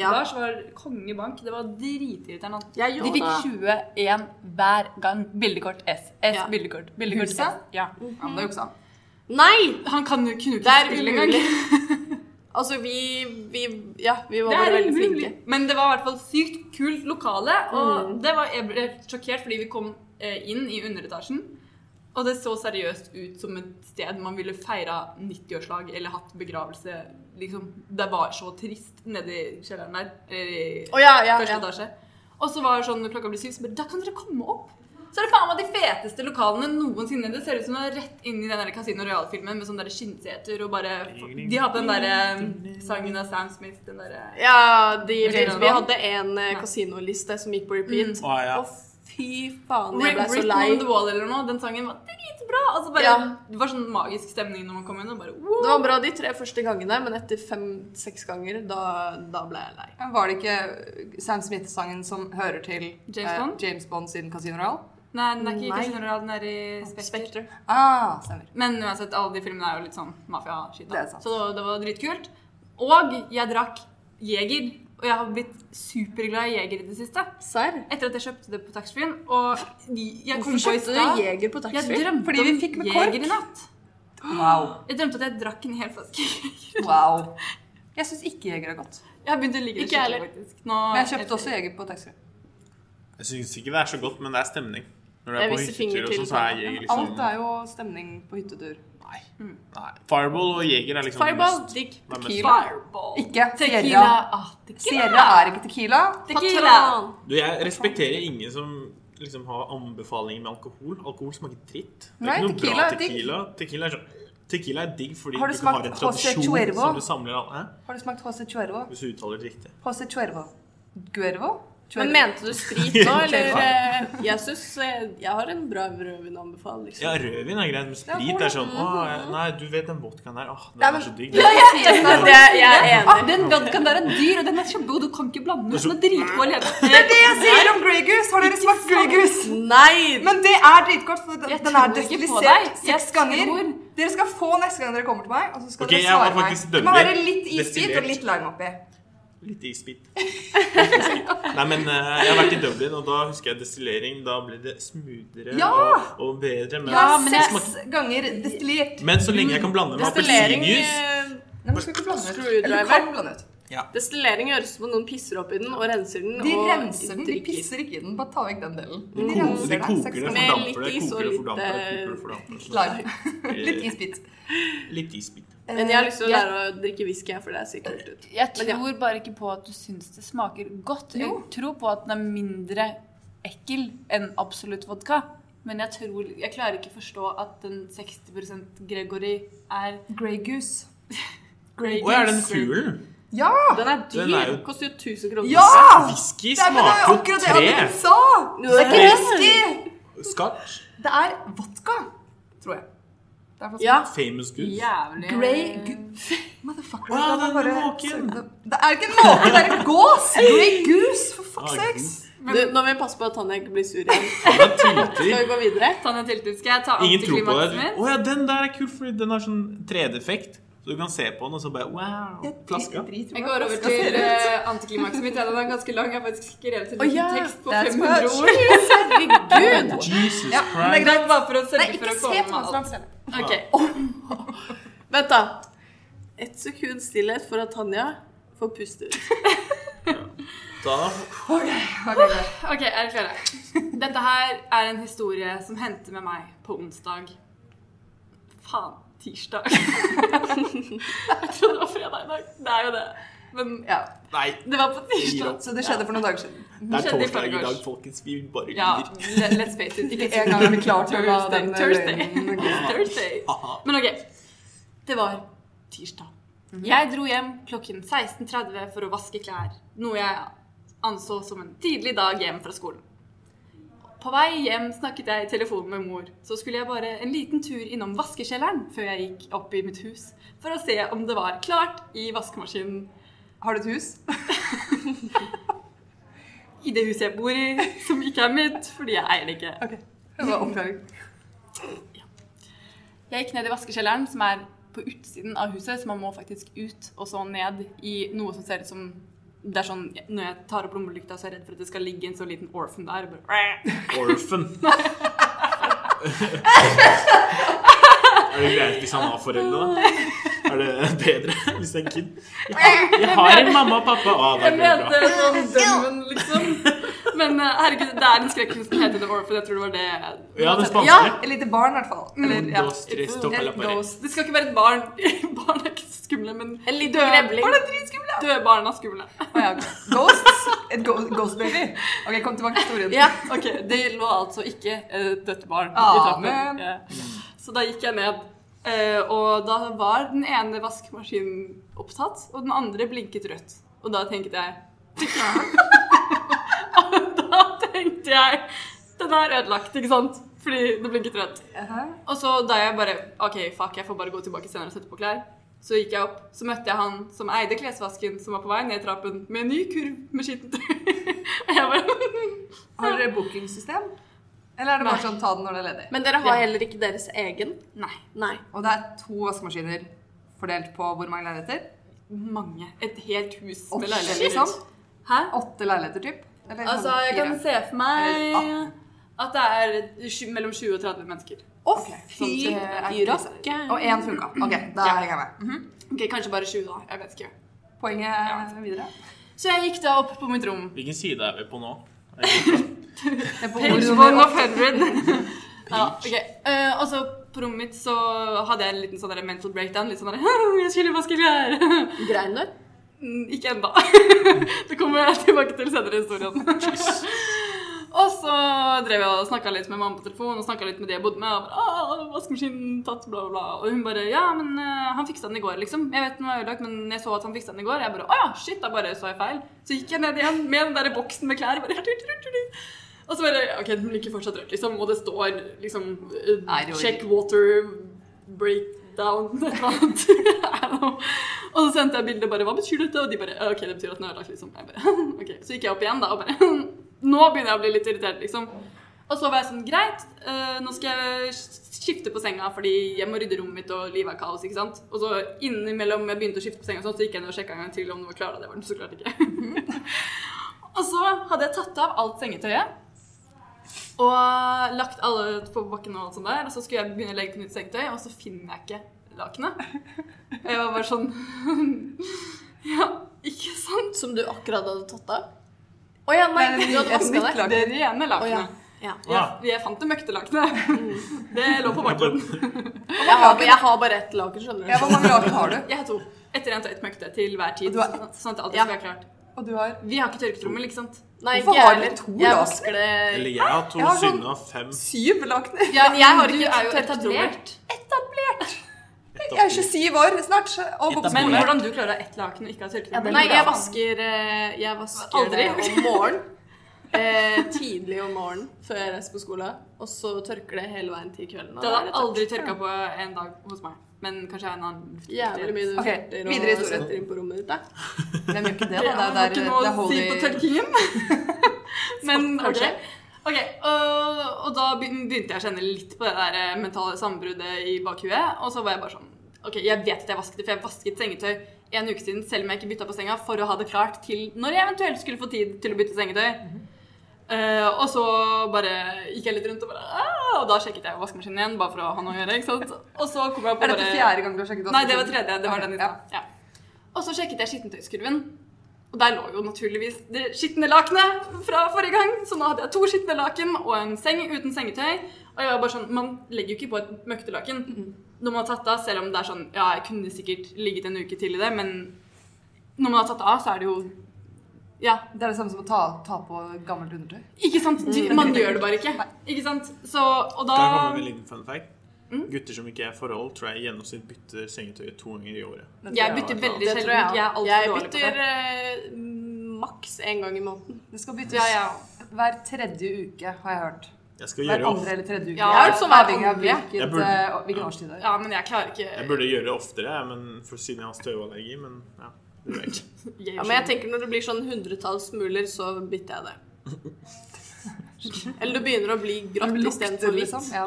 Speaker 4: Ja.
Speaker 1: Lars var kongebank. Det var dritirriterende. at-
Speaker 4: Jeg gjorde det.
Speaker 1: 21 hver gang. Bildekort S. S,
Speaker 4: Ja.
Speaker 1: bildekort. Bildekort
Speaker 3: Huset?
Speaker 1: Ja.
Speaker 3: Ja, men det juksa han.
Speaker 4: Nei!
Speaker 1: Han kan jo kunne
Speaker 4: Det
Speaker 1: ikke
Speaker 4: er
Speaker 1: spille engang.
Speaker 4: umulig. altså, vi, vi Ja, vi var
Speaker 1: Det
Speaker 4: bare
Speaker 1: er
Speaker 4: veldig
Speaker 1: umulig.
Speaker 4: flinke.
Speaker 1: Men det var i hvert fall sykt kult lokale. Og
Speaker 4: Mm.
Speaker 1: det var, jeg ble sjokkert fordi vi kom eh, inn i underetasjen. Og det så seriøst ut som et sted man ville feira 90-årslag eller hatt begravelse. Liksom, det var så trist nedi kjelleren der. Eller, i-
Speaker 4: Å ja, ja,
Speaker 1: første
Speaker 4: ja.
Speaker 1: etasje. Og så var det sånn når klokka ble syv, så bare Da kan dere komme opp! Så er det faen meg de feteste lokalene noensinne. Det ser ut som det er rett inn i den der Casino Royal-filmen med sånne der skinnseter og bare De har på den derre sangen av Sam Smith, den eh, derre
Speaker 4: Ja, de, vi,
Speaker 1: James
Speaker 4: vi
Speaker 1: Bond?
Speaker 4: hadde en eh, kasinoliste som gikk på repeat.
Speaker 2: Å, ja.
Speaker 4: Og fy faen, jeg
Speaker 1: Rick
Speaker 4: ble så
Speaker 1: Rick
Speaker 4: lei.
Speaker 1: on the Wall eller noe. Den sangen var dritbra! Og så bare
Speaker 4: Ja.
Speaker 1: Det var sånn magisk stemning når man kom inn, og bare wow.
Speaker 4: Det var bra de tre første gangene, men etter fem-seks ganger, da, da ble jeg lei.
Speaker 3: Men Var det ikke Sam Smith-sangen som hører til
Speaker 1: James Bond?
Speaker 3: eh, James Bond sin Casino Royale?
Speaker 1: Nei, den er ikke
Speaker 4: Nei.
Speaker 1: i Casino Royal, den er i Spekter.
Speaker 4: Spekter.
Speaker 3: Ah, stemmer.
Speaker 1: Men uansett, alle de filmene er jo litt sånn mafia-shit.
Speaker 3: Det
Speaker 1: da.
Speaker 3: er sant.
Speaker 1: Så det var, det var dritkult. Og jeg drakk Jeger. Og jeg har blitt superglad i Jeger i det siste.
Speaker 4: Serr?
Speaker 1: Etter at jeg kjøpte det på taxfree-en. Og de- jeg kom på i
Speaker 4: Hvorfor kjøpte
Speaker 1: stad
Speaker 4: du Jeger på
Speaker 1: Jeg
Speaker 4: taxfree?
Speaker 1: drømte
Speaker 3: Fordi vi
Speaker 1: om
Speaker 3: fikk med kork.
Speaker 1: Jeger i natt.
Speaker 3: Wow.
Speaker 1: Jeg drømte at jeg drakk en hel flaske Jeger.
Speaker 3: wow. Jeg syns ikke Jeger er godt.
Speaker 1: Jeg har begynt å like det
Speaker 4: Ikke jeg heller.
Speaker 1: skikkelig, faktisk. Nå-
Speaker 3: Men jeg kjøpte også Jeger på taxfree.
Speaker 2: Jeg syns ikke det er så godt, men det er stemning. Når du
Speaker 4: Jeg
Speaker 2: er på
Speaker 4: viser finger
Speaker 2: hyttetur, og sånn,
Speaker 4: til
Speaker 2: så er jeg liksom
Speaker 3: Alt er jo stemning på hyttetur.
Speaker 2: Nei. Nei. Fireball og Jeger er liksom
Speaker 4: Fireball,
Speaker 2: must.
Speaker 4: digg.
Speaker 2: Det er must.
Speaker 1: Fireball.
Speaker 3: Ikke
Speaker 1: Tequila.
Speaker 3: Sierra.
Speaker 1: Ah, tequila.
Speaker 3: Sierra er ikke Tequila.
Speaker 1: Tequila.
Speaker 4: Patron.
Speaker 2: Du, jeg respekterer ingen som liksom har anbefalinger med alkohol. Alkohol smaker dritt. Det er
Speaker 3: Nei,
Speaker 2: ikke noe
Speaker 3: tequila
Speaker 2: bra
Speaker 3: er digg.
Speaker 2: tequila. Tequila er, sånn, tequila er digg fordi
Speaker 3: Har du
Speaker 2: du
Speaker 3: smakt
Speaker 2: har en
Speaker 3: Jose
Speaker 2: tradisjon
Speaker 3: Cuervo?
Speaker 2: som du samler alle eh, Hæ?
Speaker 3: Har du smakt Jose Cuervo?
Speaker 2: Hvis du uttaler det riktig.
Speaker 3: Jose Cuervo. Guervo?
Speaker 4: Men mente du sprit nå, eller? eh, Jeg syns jeg, jeg har en bra rødvinanbefaling,
Speaker 2: Ja,
Speaker 4: liksom.
Speaker 2: rødvin er greit, men
Speaker 3: Ja,
Speaker 2: sprit
Speaker 3: cola.
Speaker 2: er sånn Å, nei, du vet den vodkaen der. Åh, den
Speaker 3: Ja, men-
Speaker 2: er så digg.
Speaker 3: Ja, jeg er enig.
Speaker 4: Det, jeg er
Speaker 3: Ah,
Speaker 4: enig.
Speaker 3: den vodkaen der er dyr, og den er kjempegod. Du kan ikke blande den. Den er dritgod alene.
Speaker 4: Det er det
Speaker 3: Jeg sier om Grey Goose. Har dere smakt Grey Goose?
Speaker 4: Nei!
Speaker 3: Men det er dritgodt, for den,
Speaker 4: Jeg
Speaker 3: den er
Speaker 4: tror ikke på deg.
Speaker 3: destillisert
Speaker 4: Jeg
Speaker 3: seks ganger.
Speaker 4: tror-
Speaker 3: Dere skal få neste gang dere kommer til meg. Og så skal
Speaker 2: Ok, jeg var
Speaker 3: dere svare meg.
Speaker 2: faktisk
Speaker 3: Det må
Speaker 2: dømmelig.
Speaker 3: være litt isbit
Speaker 2: Destillert.
Speaker 3: og litt lime oppi.
Speaker 2: Litt isbit. Nei, men eh, jeg har vært i Dublin, og da husker jeg destillering. Da ble det smoothere
Speaker 3: Ja!
Speaker 2: og, og bedre. Men,
Speaker 3: Ja,
Speaker 1: men jeg-
Speaker 3: seks ganger destillert.
Speaker 2: men så lenge jeg kan blande med
Speaker 4: Destillering
Speaker 2: appelsinjuice
Speaker 4: eh,
Speaker 3: Nei, men du skal ikke blande ut.
Speaker 4: Screwdriver.
Speaker 3: Eller du kan blande ut.
Speaker 4: Destillering gjøres som om noen pisser opp i den og renser den.
Speaker 3: De
Speaker 4: og
Speaker 3: renser den. De
Speaker 4: drikker.
Speaker 3: pisser ikke i den. Bare ta vekk den delen.
Speaker 2: de,
Speaker 3: De
Speaker 2: ko-
Speaker 3: renser
Speaker 2: de
Speaker 3: den
Speaker 2: koker
Speaker 3: seks
Speaker 2: det,
Speaker 3: ganger.
Speaker 4: Med litt
Speaker 2: fordamper det,
Speaker 4: is og
Speaker 2: koker det,
Speaker 4: litt,
Speaker 2: fordamper det, koker det,
Speaker 4: eh,
Speaker 2: fordamper det. sånn. Eh,
Speaker 3: Lime. eh, Litt Eh, isbit.
Speaker 2: Litt isbit.
Speaker 4: Men jeg har lyst til å
Speaker 1: Jeg-
Speaker 4: lære å drikke whisky, for det ser kult ut.
Speaker 1: Jeg
Speaker 4: Men ja.
Speaker 1: tror bare ikke på at du syns det smaker godt. Jeg
Speaker 3: Jo.
Speaker 1: tror på at den er mindre ekkel enn absolutt vodka. Men jeg, tror, jeg klarer ikke forstå at den 60 Gregory er
Speaker 3: Grey Goose.
Speaker 4: Grey
Speaker 2: Å, er den fuglen?
Speaker 3: Ja!
Speaker 4: Den er dyr.
Speaker 2: Den er jo-
Speaker 4: Koster jo 1000 kroner.
Speaker 3: Ja!
Speaker 2: Whisky
Speaker 3: Nei, men det er jo
Speaker 2: smaker jo
Speaker 3: akkurat det
Speaker 2: tre.
Speaker 3: Anniken sa! Det er ikke whisky!
Speaker 2: Scotch.
Speaker 3: Det er vodka, tror jeg. Det er faktisk
Speaker 4: Ja.
Speaker 2: Famous goods.
Speaker 1: jævlig
Speaker 3: Grey Goose Motherfucker.
Speaker 2: Wow,
Speaker 3: den er
Speaker 2: den
Speaker 3: bare-
Speaker 2: måken.
Speaker 3: Det er ikke en måke, det er en gås! Grey Goose, for fuck's
Speaker 2: Ah,
Speaker 3: sakes.
Speaker 4: Du, nå må vi passe på at Tanja ikke blir sur igjen.
Speaker 2: Den er tilter.
Speaker 4: Skal vi gå videre?
Speaker 1: Tanja Tiltid, skal jeg ta
Speaker 2: Ingen tror på det.
Speaker 1: antiklimaksen min?
Speaker 2: Å ja, den der er kul, fordi den har sånn 3D-effekt. Så du kan se på den, og så bare wow.
Speaker 3: Jeg
Speaker 2: Flaska.
Speaker 3: driter i
Speaker 5: Jeg
Speaker 3: hvordan
Speaker 5: går over
Speaker 3: flaska
Speaker 5: til
Speaker 3: ser ut.
Speaker 5: eh, antiklimakset mitt. Ja, Den er ganske lang. Jeg har faktisk skrevet en
Speaker 4: Å,
Speaker 5: liten
Speaker 4: ja.
Speaker 5: tekst på
Speaker 1: That's
Speaker 5: 500
Speaker 3: much.
Speaker 5: ord.
Speaker 4: Herregud!
Speaker 2: Jesus
Speaker 3: Ja, men det er
Speaker 2: Christ.
Speaker 3: greit.
Speaker 1: Bare for å
Speaker 3: Nei,
Speaker 1: sørge for
Speaker 3: ikke
Speaker 1: å
Speaker 3: se
Speaker 1: komme
Speaker 3: på
Speaker 1: med alt.
Speaker 3: den.
Speaker 4: Ok. Vent, da. Et sekund stillhet for at Tanja får puste ut.
Speaker 2: Da
Speaker 1: Ok, er dere klare? Dette her er en historie som hendte med meg på onsdag. Faen, tirsdag. jeg trodde det var fredag i dag. Det er jo det. Men
Speaker 3: Ja,
Speaker 2: Nei,
Speaker 1: det var på
Speaker 2: jeg gir
Speaker 1: tirsdag.
Speaker 2: opp.
Speaker 3: så det skjedde for noen dager siden.
Speaker 2: Det er
Speaker 1: skjedde i
Speaker 2: torsdag i
Speaker 1: forgårs.
Speaker 2: dag, folkens. Vi bare
Speaker 1: Ja,
Speaker 2: lider.
Speaker 1: le- let's face it. Ikke
Speaker 3: Ikke en gang er vi klar til å la den eh,
Speaker 1: Thursday.
Speaker 3: løgnen gå.
Speaker 1: Thursday. Men ok, det var tirsdag.
Speaker 3: Mhm.
Speaker 1: Jeg dro hjem klokken 16.30 for å vaske klær, noe jeg anså som en tidlig dag hjem fra skolen. På vei hjem snakket jeg i telefonen med mor, så skulle jeg bare en liten tur innom vaskekjelleren før jeg gikk opp i mitt hus, for å se om det var klart i vaskemaskinen
Speaker 3: Har du et hus?
Speaker 1: i det huset jeg bor i, som ikke er mitt, fordi jeg eier det ikke.
Speaker 3: Det var oppklaring.
Speaker 1: Jeg gikk ned i vaskekjelleren, som er på utsiden av huset, så man må faktisk ut og så ned i noe som ser ut som det er sånn, Når jeg tar opp lommelykta, så er jeg redd for at det skal ligge en så liten orphan der. og Bare,
Speaker 2: Orphan. Er det greit hvis han har foreldre, da? Er det bedre hvis det er en kid? Jeg har, jeg har en mamma og pappa. Å, det
Speaker 1: jeg
Speaker 2: er veldig bra.
Speaker 1: mente sånn dømmen, liksom. Men eh, herregud, det er en skrekkfilm som heter The Orphan. Jeg tror det var det
Speaker 2: Ja, den spanske.
Speaker 3: Ja, et lite barn i hvert fall.
Speaker 1: Mm.
Speaker 3: Eller,
Speaker 2: Un,
Speaker 3: ja.
Speaker 2: dos, tres, toca la
Speaker 1: Eller
Speaker 2: pared.
Speaker 1: Ghost. Det skal ikke være et barn. Barn er ikke så skumle, men
Speaker 4: En liten
Speaker 1: døde-
Speaker 4: grevling.
Speaker 1: Barn er dritskumle. Døde barn er skumle.
Speaker 3: Å ja, Ghosts? Et go ghost baby? Ok, kom tilbake til historien.
Speaker 4: Ja.
Speaker 1: Ok, Det lå altså ikke eh, dødt barn
Speaker 3: Ah,
Speaker 1: i trappen.
Speaker 3: men-
Speaker 1: Ja. Så da gikk jeg ned, eh, og da var den ene vaskemaskinen opptatt, og den andre blinket rødt. Og da tenkte jeg Da tenkte jeg Den er ødelagt, ikke sant? Fordi det blinket rødt.
Speaker 3: Aha.
Speaker 1: Og så da jeg bare OK, fuck, jeg får bare gå tilbake senere og sette på klær. Så gikk jeg opp, så møtte jeg han som eide klesvasken, som var på vei ned trappen med en ny kurv med skittent tøy. Og jeg bare
Speaker 3: Har dere bookingsystem? Eller er det bare
Speaker 1: Nei.
Speaker 3: sånn ta den når det er ledig?
Speaker 4: Men dere har heller ikke deres egen?
Speaker 1: Nei.
Speaker 4: Nei.
Speaker 3: Og det er to vaskemaskiner fordelt på hvor mange leiligheter?
Speaker 1: Mange. Et helt hus
Speaker 3: Åtte,
Speaker 1: med leiligheter.
Speaker 3: liksom.
Speaker 1: Hæ?
Speaker 3: Åtte leiligheter, typ? Eller
Speaker 1: Altså,
Speaker 3: sånn
Speaker 1: jeg kan
Speaker 3: fire?
Speaker 1: se for
Speaker 3: Eller atten.
Speaker 1: meg at det er sju- mellom 20 og 30 mennesker.
Speaker 3: Å, fy
Speaker 1: Sånn, det er
Speaker 3: i rass.
Speaker 4: rakken.
Speaker 3: Og én funka. Ok, da
Speaker 1: Ja. Mhm.
Speaker 3: henger jeg med.
Speaker 1: Ok, Kanskje bare 20, da. Jeg vet ikke.
Speaker 3: Poenget er videre.
Speaker 1: Så jeg gikk da opp på mitt rom.
Speaker 2: Hvilken side er vi på nå? Er det-
Speaker 3: Det er på
Speaker 1: Page
Speaker 3: ordet
Speaker 1: one
Speaker 3: nummer
Speaker 1: of hundred. ja, ok. Eh, og så på rommet mitt så hadde jeg en liten sånn der mental breakdown. Litt sånn der, jeg skulle vaske klær.
Speaker 4: Grein der?
Speaker 1: Mm, Ikke ennå. Det kommer jeg tilbake til senere i historien. Og så drev jeg og snakka litt med mamma på telefon, og snakka litt med de jeg bodde med. Og bare, «Å, vaskemaskinen tatt, bla, bla, bla. Og hun bare Ja, men eh, han fiksa den i går, liksom. Jeg vet den var ødelagt, men jeg så at han fiksa den i går. Jeg bare Å ja, shit, da bare så jeg feil. Så gikk jeg ned igjen med den derre boksen med klær. Bare, tut, tut, tut, tut. Og så bare OK, den ligger fortsatt rørt, liksom. Og det står liksom eh,
Speaker 3: Nei, det var-
Speaker 1: Check water breakdown, et eller annet. I don't know. Og så sendte jeg bildet bare Hva betyr dette? Og de bare «Ja, OK, det betyr at den er ødelagt, liksom. Jeg bare, ok. Så gikk jeg opp igjen, da, og bare Nå begynner jeg å bli litt irritert, liksom. Og så var jeg sånn Greit, eh, nå skal jeg skifte på senga, fordi jeg må rydde rommet mitt, og livet er kaos, ikke sant. Og så innimellom jeg begynte å skifte på senga, og sånn, så gikk jeg ned og sjekka en gang til om den var klar, og det var den så klart ikke. og så hadde jeg tatt av alt sengetøyet. Og lagt alle på bakken og alt sånt der. Og så skulle jeg begynne å legge på nytt sengetøy, og så finner jeg ikke lakenet. Og jeg var bare sånn Ja, ikke sant?
Speaker 4: Som du akkurat hadde tatt av?
Speaker 1: Å ja, nei,
Speaker 3: Nei, det er
Speaker 1: du hadde
Speaker 3: et
Speaker 1: vaska
Speaker 3: nytt
Speaker 1: det.
Speaker 3: laken.
Speaker 1: Det rene lakenet.
Speaker 4: Ja. Mm.
Speaker 2: Ja.
Speaker 1: Jeg, jeg fant det møkte lakenet. Det lå på
Speaker 2: Jeg
Speaker 1: bakken.
Speaker 2: bare-
Speaker 4: Jeg har, jeg har bare ett laken, skjønner
Speaker 3: Ja,
Speaker 4: du.
Speaker 3: Hvor mange laken har du?
Speaker 1: Jeg har to. Ett rent og ett møkte til hver tid.
Speaker 3: Og du har ett?
Speaker 1: Sånn at det alltid
Speaker 4: Ja.
Speaker 1: skal være klart.
Speaker 3: Og du har
Speaker 1: Vi har ikke tørketrommel, ikke sant?
Speaker 4: Nei, ikke
Speaker 3: Hvorfor
Speaker 4: jeg
Speaker 3: har dere
Speaker 4: heller.
Speaker 3: to
Speaker 4: Jeg
Speaker 3: laken?
Speaker 4: vasker det
Speaker 2: Eller jeg har to,
Speaker 3: Jeg har sånn-
Speaker 2: Synne har fem.
Speaker 3: syv lakener.
Speaker 4: ja, men Jeg har
Speaker 1: Du
Speaker 4: ikke
Speaker 1: er jo
Speaker 4: tørketrommel.
Speaker 1: etablert.
Speaker 2: Ett
Speaker 3: Jeg
Speaker 2: av
Speaker 3: er
Speaker 2: to.
Speaker 3: 27 år snart. Og
Speaker 2: Etablert.
Speaker 3: voksen.
Speaker 1: Men hvordan du klarer å ha ett laken og ikke ha tørketrommel
Speaker 4: Nei, jeg vasker, eh, jeg vasker
Speaker 1: Aldri.
Speaker 4: det om morgenen. Eh, tidlig om morgenen før jeg reiser på skolen. Og så tørker det hele veien til kvelden. og
Speaker 1: Det
Speaker 4: da er
Speaker 1: hadde
Speaker 4: det tørt.
Speaker 1: aldri tørka på en dag hos meg. Men kanskje en annen
Speaker 4: Jævlig mye du
Speaker 3: Ok,
Speaker 4: fjerter og
Speaker 3: videre historie.
Speaker 4: setter inn på rommet ditt. Da.
Speaker 3: Hvem gjør ikke det,
Speaker 1: Ja, jeg
Speaker 3: da? Det
Speaker 1: har
Speaker 3: er der
Speaker 1: ikke
Speaker 3: det
Speaker 1: noe
Speaker 3: er
Speaker 1: å si på
Speaker 3: holy
Speaker 1: tørkingen. Men ok.
Speaker 4: Kanskje.
Speaker 1: Ok, og, og da begyn- begynte jeg å kjenne litt på det der eh, mentale sammenbruddet i bakhuet. Og så var jeg bare sånn Ok, jeg vet at jeg vasket det, for jeg vasket sengetøy en uke siden selv om jeg ikke bytta på senga, for å ha det klart til når jeg eventuelt skulle få tid til å bytte sengetøy. Eh, og så bare gikk jeg litt rundt og bare «Ah!» Og da sjekket jeg vaskemaskinen igjen, bare for å ha noe å gjøre. ikke sant? Og så kom jeg på
Speaker 3: Er dette
Speaker 1: bare-
Speaker 3: fjerde gang du har sjekket
Speaker 1: Nei, det var tredje. Det var
Speaker 3: Ok,
Speaker 1: den i
Speaker 3: ja.
Speaker 1: stad. Ja. Og så sjekket jeg skittentøyskurven. Og der lå jo naturligvis det skitne lakenet fra forrige gang. Så nå hadde jeg to skitne laken og en seng uten sengetøy. Og jeg var bare sånn Man legger jo ikke på et møktelaken
Speaker 4: Mhm.
Speaker 1: når man har tatt av, selv om det er sånn Ja, jeg kunne sikkert ligget en uke til i det, men når man har tatt av, så er det jo Ja,
Speaker 3: Det er det samme som å ta, ta på gammelt undertøy.
Speaker 1: ikke sant?
Speaker 4: Mm.
Speaker 1: Du, man gjør det bare ikke. Ikke sant? Så Og da
Speaker 2: Der kommer en liten fun fact.
Speaker 3: Mm.
Speaker 2: Gutter som ikke er i forhold, tror jeg i gjennomsnitt bytter sengetøy to ganger i året.
Speaker 3: Det
Speaker 1: Jeg
Speaker 3: tror jeg
Speaker 1: bytter
Speaker 3: var-
Speaker 1: veldig
Speaker 4: Det tror
Speaker 1: sjelden.
Speaker 4: jeg.
Speaker 1: Jeg er
Speaker 4: Jeg,
Speaker 1: altfor dårlig på
Speaker 4: bytter
Speaker 1: det.
Speaker 4: eh, maks én gang i måneden.
Speaker 3: Det skal byttes
Speaker 1: Ja, ja.
Speaker 3: hver tredje uke, har jeg hørt.
Speaker 2: Jeg skal
Speaker 3: Hver
Speaker 2: gjøre
Speaker 3: andre
Speaker 2: oftere.
Speaker 3: eller tredje uke.
Speaker 1: Ja, det er
Speaker 4: sånn hver
Speaker 3: Avhengig av
Speaker 4: andre.
Speaker 3: hvilket,
Speaker 2: Jeg burde-
Speaker 3: eh, hvilken årstid det er.
Speaker 1: Ja, men jeg klarer ikke
Speaker 2: Jeg burde gjøre det oftere, jeg, men for, siden jeg har støvallergi. Men ja, det gjør jeg ikke.
Speaker 1: Jeg
Speaker 4: Ja,
Speaker 1: gjør
Speaker 4: men jeg
Speaker 1: sånn.
Speaker 4: tenker når det blir sånn hundretalls muler, så bytter jeg det. Eller det begynner å bli
Speaker 3: Det
Speaker 4: grått
Speaker 3: Lukter,
Speaker 4: istedenfor hvitt.
Speaker 3: liksom. Ja.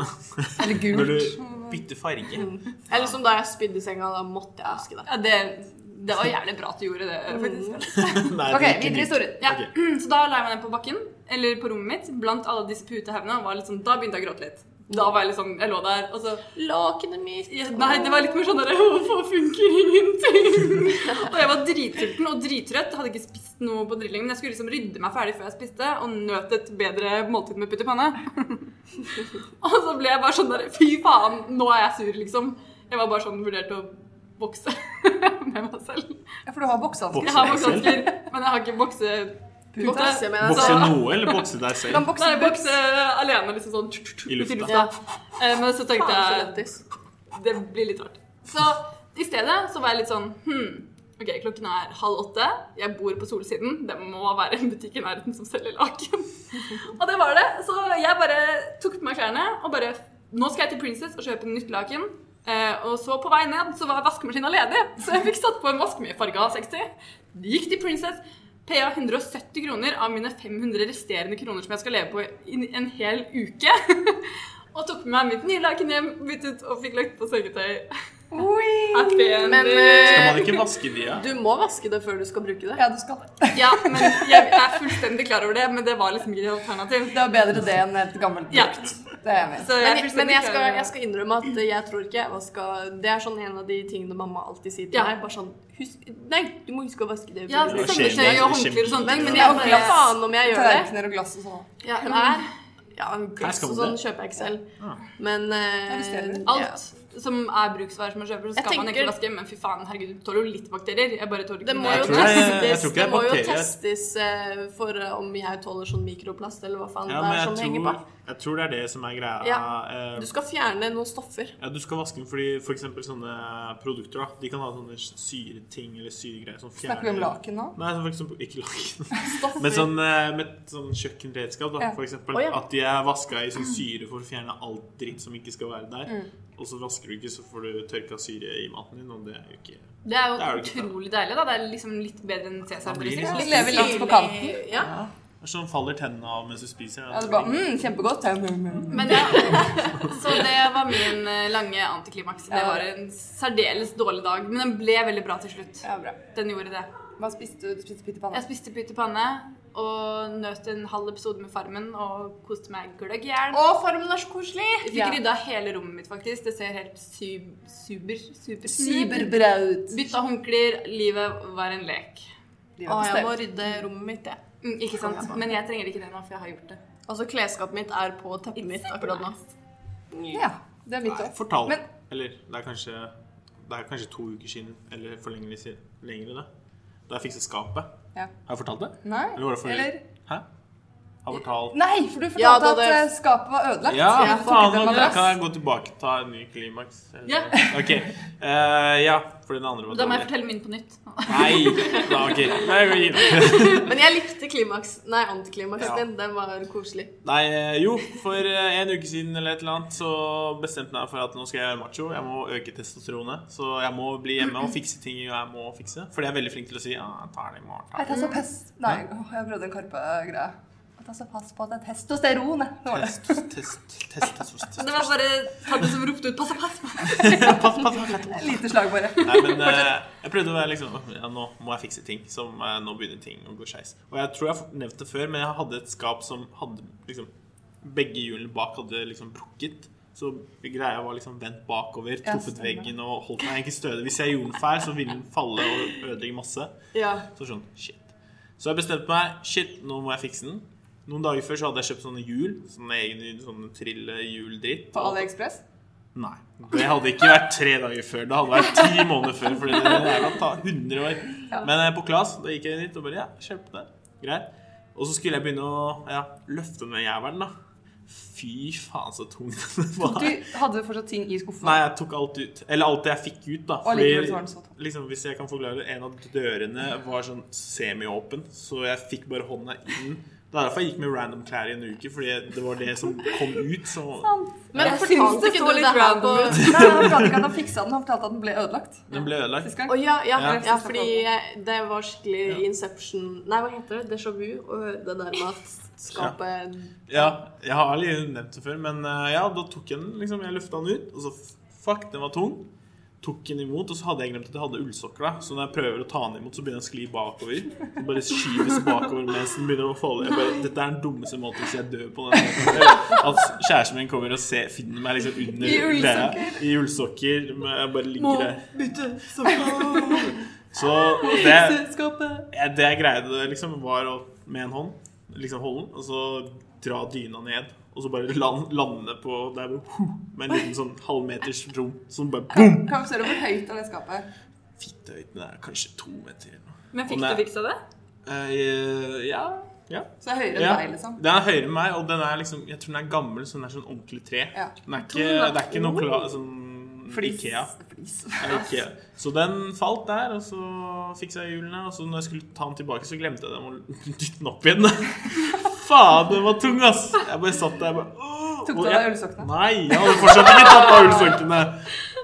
Speaker 3: Eller
Speaker 2: Bør du
Speaker 3: gult.
Speaker 2: bytte farge?
Speaker 3: Mm.
Speaker 4: Eller som da jeg spydde i senga, da måtte jeg vaske det.
Speaker 1: Ja, det, det var jævlig bra at du gjorde det. faktisk.
Speaker 2: Nei,
Speaker 3: Ok,
Speaker 2: det er ikke
Speaker 3: videre
Speaker 2: nytt.
Speaker 3: historie.
Speaker 1: Ja.
Speaker 2: Ok.
Speaker 1: Så da la jeg meg ned på bakken, eller på rommet mitt, blant alle disse putehaugene. og var litt sånn- Da begynte jeg å gråte litt. Da var jeg litt sånn, jeg lå der, og så
Speaker 4: Lakenet mitt.
Speaker 1: ja, Nei, det var litt mer sånn der Hvorfor funker ingenting? og jeg var dritsulten og drittrøtt. Hadde ikke spist noe på drillingen. Men jeg skulle liksom rydde meg ferdig før jeg spiste, og nøt et bedre måltid med putt i panne. og så ble jeg bare sånn der Fy faen, nå er jeg sur, liksom. Jeg var bare sånn vurdert å vokse med meg selv.
Speaker 3: Ja, for du har boksehansker.
Speaker 1: Jeg har boksehansker, men jeg har ikke boksepute.
Speaker 4: Bokse, mener jeg.
Speaker 2: Bokse
Speaker 4: Så-
Speaker 2: noe, eller bokse deg
Speaker 3: Du kan
Speaker 2: selv?
Speaker 1: Nei,
Speaker 3: bokse
Speaker 1: bokse alene, liksom sånn tsk, tsk,
Speaker 2: I lufta.
Speaker 4: Ja.
Speaker 1: Eh, Men så tenkte
Speaker 4: Faen, så
Speaker 1: jeg
Speaker 4: lættis.
Speaker 1: det blir litt rart. Så i stedet så var jeg litt sånn hmm, Ok, klokken er halv åtte. Jeg bor på Solsiden. Det må være en butikk i nærheten som selger laken. og det var det. Så jeg bare tok på meg klærne og bare Nå skal jeg til Princess og kjøpe nytt laken. Eh, og så på vei ned så var vaskemaskina ledig, så jeg fikk satt på en vaskemyefarga 60. Gikk til Princess. PA 170 kroner av mine 500 resterende kroner som jeg skal leve på i en hel uke. og tok med meg mitt nye laken hjem, byttet og fikk lagt på sengetøy. Happy ending.
Speaker 4: Men eh,
Speaker 2: Kan man ikke vaske de, ja?
Speaker 4: du må vaske det før du skal bruke det.
Speaker 3: Ja, du skal det.
Speaker 1: Ja, men jeg er fullstendig klar over det, men det var liksom ikke et alternativ.
Speaker 3: Det er bedre det enn et gammelt
Speaker 1: Ja.
Speaker 3: brukt. Det er jeg med.
Speaker 1: Så jeg er
Speaker 4: Men, men
Speaker 1: fullstendig
Speaker 4: jeg,
Speaker 1: klar
Speaker 4: skal,
Speaker 1: over
Speaker 4: jeg
Speaker 1: det.
Speaker 4: skal innrømme at jeg tror ikke jeg vaska Det er sånn en av de tingene mamma alltid sier til
Speaker 1: Ja.
Speaker 4: meg. Bare sånn husk, Nei, du må huske å vaske det.
Speaker 1: Ja,
Speaker 4: før du
Speaker 2: det
Speaker 4: bruker det."
Speaker 1: sengetøy og håndklær og sånt.
Speaker 4: men, men
Speaker 2: Ja,
Speaker 4: jeg angrer faen om jeg gjør det.
Speaker 3: Tallerkener og glass og sånn.
Speaker 4: Ja, klær. Ja,
Speaker 2: Klær
Speaker 4: glass
Speaker 2: skal
Speaker 4: og
Speaker 2: man
Speaker 4: sånn
Speaker 2: det.
Speaker 4: kjøper jeg ikke selv.
Speaker 2: Ja.
Speaker 4: Men eh,
Speaker 3: Ja, hvis det er det.
Speaker 4: alt.
Speaker 5: som er bruksvarer som man kjøper, så
Speaker 4: Jeg
Speaker 5: skal man
Speaker 4: tenker-
Speaker 5: ikke vaske. Men fy faen, herregud, du tåler jo litt bakterier. Jeg bare tåler
Speaker 4: Det
Speaker 5: ikke
Speaker 4: må
Speaker 5: mer.
Speaker 4: jo
Speaker 2: tror det er- jeg
Speaker 4: testes,
Speaker 2: tror ikke det
Speaker 4: det
Speaker 2: er
Speaker 4: må jo
Speaker 2: bakterier.
Speaker 4: testes eh, for eh, om jeg tåler sånn mikroplast, eller hva faen
Speaker 2: Ja,
Speaker 4: det
Speaker 2: men
Speaker 4: er
Speaker 2: jeg
Speaker 3: sånn
Speaker 4: som henger
Speaker 2: tror,
Speaker 4: bak.
Speaker 2: jeg tror det er det som er greia.
Speaker 4: Ja.
Speaker 2: Eh,
Speaker 4: Du skal fjerne noen stoffer.
Speaker 2: Ja, du skal vaske den fordi for eksempel sånne produkter da, de kan ha sånne syreting eller syregreier som fjerner...
Speaker 3: Snakker vi om laken nå?
Speaker 2: Nei, som for eksempel, ikke laken.
Speaker 4: Stoffer.
Speaker 2: Men sånn, eh, med sånn kjøkkenredskap da,
Speaker 3: Ja.
Speaker 2: for eksempel.
Speaker 4: Å, ja.
Speaker 2: At de er vasket i sånn syre for å fjerne alt dritt som ikke skal være der.
Speaker 3: Mm.
Speaker 2: Og så vasker du ikke, så får du tørka syre i maten din, og det er jo ikke...
Speaker 5: Det er jo
Speaker 2: Det er jo ikke
Speaker 5: utrolig deilig, da. Det er liksom litt bedre enn
Speaker 2: Man blir
Speaker 5: cæsarbrysting.
Speaker 2: liksom
Speaker 3: Vi lever litt på kanten.
Speaker 4: Ja.
Speaker 2: Det er sånn faller tennene av mens du spiser.
Speaker 3: Ja, det er bare, mm, kjempegodt. Mm, mm, mm.
Speaker 5: Men ja, så det var min eh, lange antiklimaks. Det
Speaker 3: Ja.
Speaker 5: var en særdeles dårlig dag, men den ble veldig bra til slutt.
Speaker 3: Ja, bra.
Speaker 5: Den gjorde det.
Speaker 3: Hva spiste du? Du spiste
Speaker 5: Jeg
Speaker 3: pyttipanne?
Speaker 5: spiste pytt i panne og nøt en halv episode med Farmen og koste meg gløgg i hjel.
Speaker 4: Å, farmen er så koselig!
Speaker 5: Jeg
Speaker 3: Ja.
Speaker 5: fikk rydda hele rommet mitt, faktisk. Det ser helt syb, super, super
Speaker 3: Cyberbraut.
Speaker 5: Bytta håndklær. Livet var en lek.
Speaker 3: Mm.
Speaker 4: Å, jeg må rydde rommet mitt, jeg.
Speaker 5: Mm, ikke sant? Men jeg trenger ikke det nå, for jeg har gjort det.
Speaker 4: Altså, klesskapet mitt er på teppet mitt akkurat nå.
Speaker 3: Ja, det er mitt
Speaker 2: Nei,
Speaker 3: også.
Speaker 2: fortalt.
Speaker 3: Mm. Men-
Speaker 2: Eller det er kanskje Det er kanskje to uker siden, eller for lenge siden. Lengre, det. Da jeg fikset skapet.
Speaker 3: Ja.
Speaker 2: Har jeg fortalt det?
Speaker 3: Nei,
Speaker 2: Eller var det forrige?
Speaker 3: eller Mm.
Speaker 2: Hæ? Har fortalt
Speaker 3: Nei, for du fortalte
Speaker 4: Ja, da det-
Speaker 3: at eh, skapet var ødelagt.
Speaker 2: Ja,
Speaker 3: Så du tok ut
Speaker 2: faen,
Speaker 3: en
Speaker 2: nå
Speaker 3: madrass.
Speaker 2: kan jeg gå tilbake og ta en ny klimaks. eller-
Speaker 5: Ja.
Speaker 2: Ok. eh, ja, fordi den andre var
Speaker 5: Da må jeg
Speaker 2: dårlig.
Speaker 5: fortelle min på nytt.
Speaker 2: Nei! Da, ok. Nei, vi gir opp.
Speaker 4: Men jeg likte klimaks. Nei,
Speaker 2: Ja.
Speaker 4: antiklimaksen din. Den var koselig.
Speaker 2: Nei, eh, jo, for eh, en uke siden eller et eller annet så bestemte jeg meg for at nå skal jeg være macho. Jeg må øke testosteronet. Så jeg må bli hjemme og fikse ting jeg må fikse. Fordi jeg er veldig flink til å si ja, jeg tar det i morgen. tar
Speaker 3: Jeg
Speaker 2: det.
Speaker 3: tar så pass Nei, åh, jeg prøvde en Karpe-greie. Jeg tar så pass på at det er testosteron. jeg. Nå var det.
Speaker 2: Test, test, test, test, test.
Speaker 5: Det var sånn. bare Tadde som ropte ut 'pass, pass'.
Speaker 2: Pass, pass, pass.
Speaker 3: Lite slag, bare.
Speaker 2: Nei, men eh, jeg prøvde å være liksom ja, Nå må jeg fikse ting. Som, eh, nå begynner ting å gå skeis. Og jeg tror jeg har nevnt det før, men jeg hadde et skap som hadde liksom Begge hjulene bak hadde liksom brukket. Så greia var liksom vendt bakover,
Speaker 3: Ja,
Speaker 2: truffet
Speaker 3: stemmer.
Speaker 2: veggen og holdt meg egentlig stødig. Hvis jeg gjorde den feil, så ville den falle og ødelegge masse.
Speaker 4: Ja.
Speaker 2: Så sånn, shit. Så jeg bestemte meg, shit, nå må jeg fikse den. Noen dager før så hadde jeg kjøpt sånne hjul. Sånne egne sånne trillehjuldritt.
Speaker 3: På AliExpress.
Speaker 2: Nei. Det hadde ikke vært tre dager før. Det hadde vært ti måneder før. Fordi det der kan ta 100 år. Men eh, på Klas da gikk jeg dit og bare Ja, kjøp det. Greit. Og så skulle jeg begynne å ja, løfte den jævelen, da. Fy faen, så tung den var.
Speaker 3: Du hadde fortsatt ting i skuffen.
Speaker 2: Nei, jeg tok alt ut. Eller alt jeg fikk ut, da.
Speaker 3: Og likevel sånn, så var den så tom.
Speaker 2: liksom, hvis jeg kan forklare det, en av dørene var sånn semiåpen, så jeg fikk bare hånda inn. Det er derfor jeg gikk med random klær i en uke, fordi det var det som kom ut. Så
Speaker 4: Men
Speaker 3: Jeg syns
Speaker 4: fortalte
Speaker 3: det
Speaker 4: ikke
Speaker 3: så
Speaker 4: du det
Speaker 3: litt
Speaker 4: her på
Speaker 3: random Nei, han fortalte ikke at han fiksa den, han fortalte at den ble ødelagt.
Speaker 2: den ble ødelagt.
Speaker 3: Sist gang.
Speaker 4: Å ja, ja,
Speaker 2: Ja.
Speaker 4: ja, fordi jeg, det var skikkelig Inception Nei, hva heter det? Déjà vu? Og det der med at skapet
Speaker 2: Ja, jeg har aldri nevnt det før, men eh, ja, da tok jeg den, liksom, jeg løftet den ut, og så, f- fuck, den var tung. Tok den imot, og så hadde jeg glemt at jeg hadde ullsokker da, så når jeg prøver å ta den imot, så begynner den å skli bakover. Den bare skyves bakover mens den begynner å falle. Jeg bare, dette er den dummeste måten så jeg dør på den. måten». At kjæresten min kommer og ser, finner meg liksom under
Speaker 3: I ullsokker.
Speaker 2: greia, I ullsokker. men Jeg bare
Speaker 4: Må
Speaker 2: ligger der.
Speaker 4: bytte sofa.
Speaker 2: Så det,
Speaker 3: Skapet.
Speaker 2: ja, det jeg greide liksom var å med en hånd liksom holde den, og så dra dyna ned. Og så bare land, lande på der hvor- med en liten sånn halvmeters rom som bare boom!
Speaker 3: Kan vi se hvor høyt er det skapet?
Speaker 2: Fittehøyden er kanskje to meter eller noe.
Speaker 5: Men
Speaker 2: Og
Speaker 5: fikk
Speaker 2: nei.
Speaker 5: du fiksa det?
Speaker 2: Eh, ja. ja.
Speaker 3: Så høyere enn
Speaker 2: Ja,
Speaker 3: deg, liksom.
Speaker 2: Den er høyere enn meg, og den er liksom, jeg tror den er gammel, så den er sånn ordentlig tre.
Speaker 3: Ja.
Speaker 2: Den er ikke, det er ikke noe kla, sånn Ikea.
Speaker 3: Flis.
Speaker 2: Ja, ikke. Så den falt der, og så fiksa jeg hjulene. Og så når jeg skulle ta den tilbake, så glemte jeg den og dytte den opp igjen. Faen, den var tung, ass! Jeg bare satt der jeg bare åh,
Speaker 3: Tok du
Speaker 2: og
Speaker 3: av
Speaker 2: jeg-
Speaker 3: deg ullsokkene?
Speaker 2: Nei, jeg hadde fortsatt ikke tatt av ullsokkene.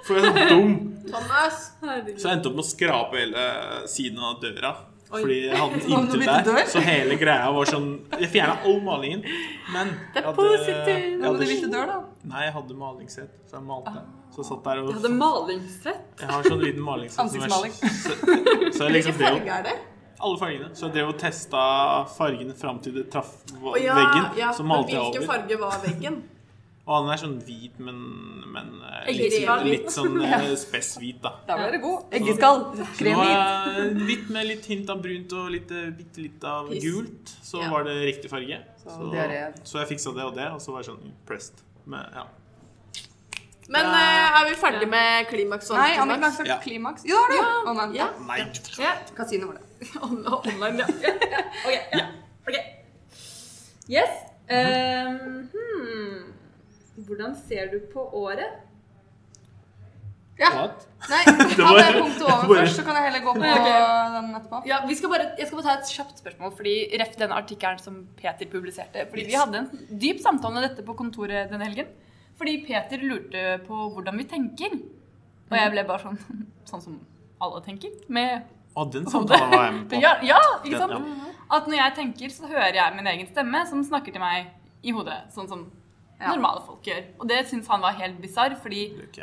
Speaker 2: For jeg er så dum.
Speaker 4: Thomas!
Speaker 2: Så jeg endte opp med å skrape hele siden av døra.
Speaker 5: Oi.
Speaker 2: Fordi jeg hadde den
Speaker 3: Så hadde du
Speaker 2: inntil
Speaker 3: byttet
Speaker 2: der.
Speaker 3: dør?
Speaker 2: Så hele greia var sånn Jeg fjerna all malingen. Men Det er
Speaker 5: positivt.
Speaker 3: Nå må du bytte dør, da.
Speaker 2: Nei, jeg hadde malingssett, så jeg malte. Så jeg satt der og
Speaker 5: Jeg hadde malingssett.
Speaker 2: jeg har sånn liten malingssett som er-
Speaker 3: Ansiktsmaling.
Speaker 2: Så, så jeg liksom
Speaker 4: Hvilken
Speaker 2: drev
Speaker 4: farge er det?
Speaker 2: alle fargene. Så jeg drev og testa fargene fram til det traff v-
Speaker 4: Å, ja,
Speaker 2: veggen.
Speaker 4: ja,
Speaker 2: så
Speaker 4: men
Speaker 2: malte jeg over.
Speaker 4: Hvilken farge var veggen?
Speaker 2: Og han er sånn hvit, men, men eh, litt,
Speaker 4: Eggeskall.
Speaker 2: litt sånn eh, spesshvit, da.
Speaker 3: Da ble det god. Eggeskall.
Speaker 2: Så det
Speaker 3: Krem hit.
Speaker 2: var, eh, litt med litt hint av brunt og litt, eh, bitte litt av
Speaker 4: Piss.
Speaker 2: gult, så
Speaker 4: Ja.
Speaker 2: var det riktig farge.
Speaker 3: Så det er det.
Speaker 2: så jeg fiksa det og det, og så var jeg sånn impressed. Men ja.
Speaker 4: Men eh, er vi ferdig med klimaks og
Speaker 3: Nei, Annika
Speaker 4: antiklimaks?
Speaker 3: har
Speaker 6: Ja.
Speaker 3: sagt klimaks. Jo, det har du! Å, nei,
Speaker 4: Ja.
Speaker 6: Nei,
Speaker 3: Kasino var det.
Speaker 7: Online, ja.
Speaker 1: Ok, ja. Ok. Yes. Ehm, hmm. Hvordan ser du på året?
Speaker 6: what?
Speaker 3: Nei, ta det punktet over
Speaker 2: bare-
Speaker 3: først, så kan jeg heller gå på den etterpå.
Speaker 1: Ja, vi skal bare, jeg skal bare ta et kjapt spørsmål, fordi ref den artikkelen som Peter publiserte. Fordi vi hadde en dyp samtale om dette på kontoret denne helgen. Fordi Peter lurte på hvordan vi tenker. Og jeg ble bare sånn Sånn som alle tenker. Med
Speaker 2: Å, den samtalen var jeg med på.
Speaker 1: ja, ja, ikke
Speaker 2: Ja.
Speaker 1: sant? At når jeg tenker, så hører jeg min egen stemme som snakker til meg i hodet. Sånn som
Speaker 3: Ja.
Speaker 1: normale folk gjør. Og det syns han var helt bisarr, fordi
Speaker 2: Ok.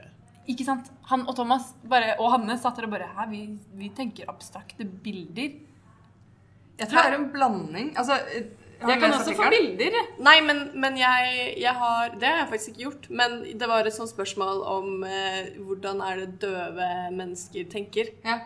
Speaker 1: ikke sant? Han og Thomas bare, og Hanne satt der og bare Hæ, vi, vi tenker abstrakte bilder.
Speaker 3: Jeg tror det er en blanding. Altså, eh, har
Speaker 1: Jeg
Speaker 3: du
Speaker 1: kan
Speaker 3: lest
Speaker 1: også få
Speaker 3: artikkelen?
Speaker 1: bilder.
Speaker 4: Nei, men, men jeg, jeg har Det har jeg faktisk ikke gjort. Men det var et sånt spørsmål om eh, hvordan er det døve mennesker tenker.
Speaker 3: Ja.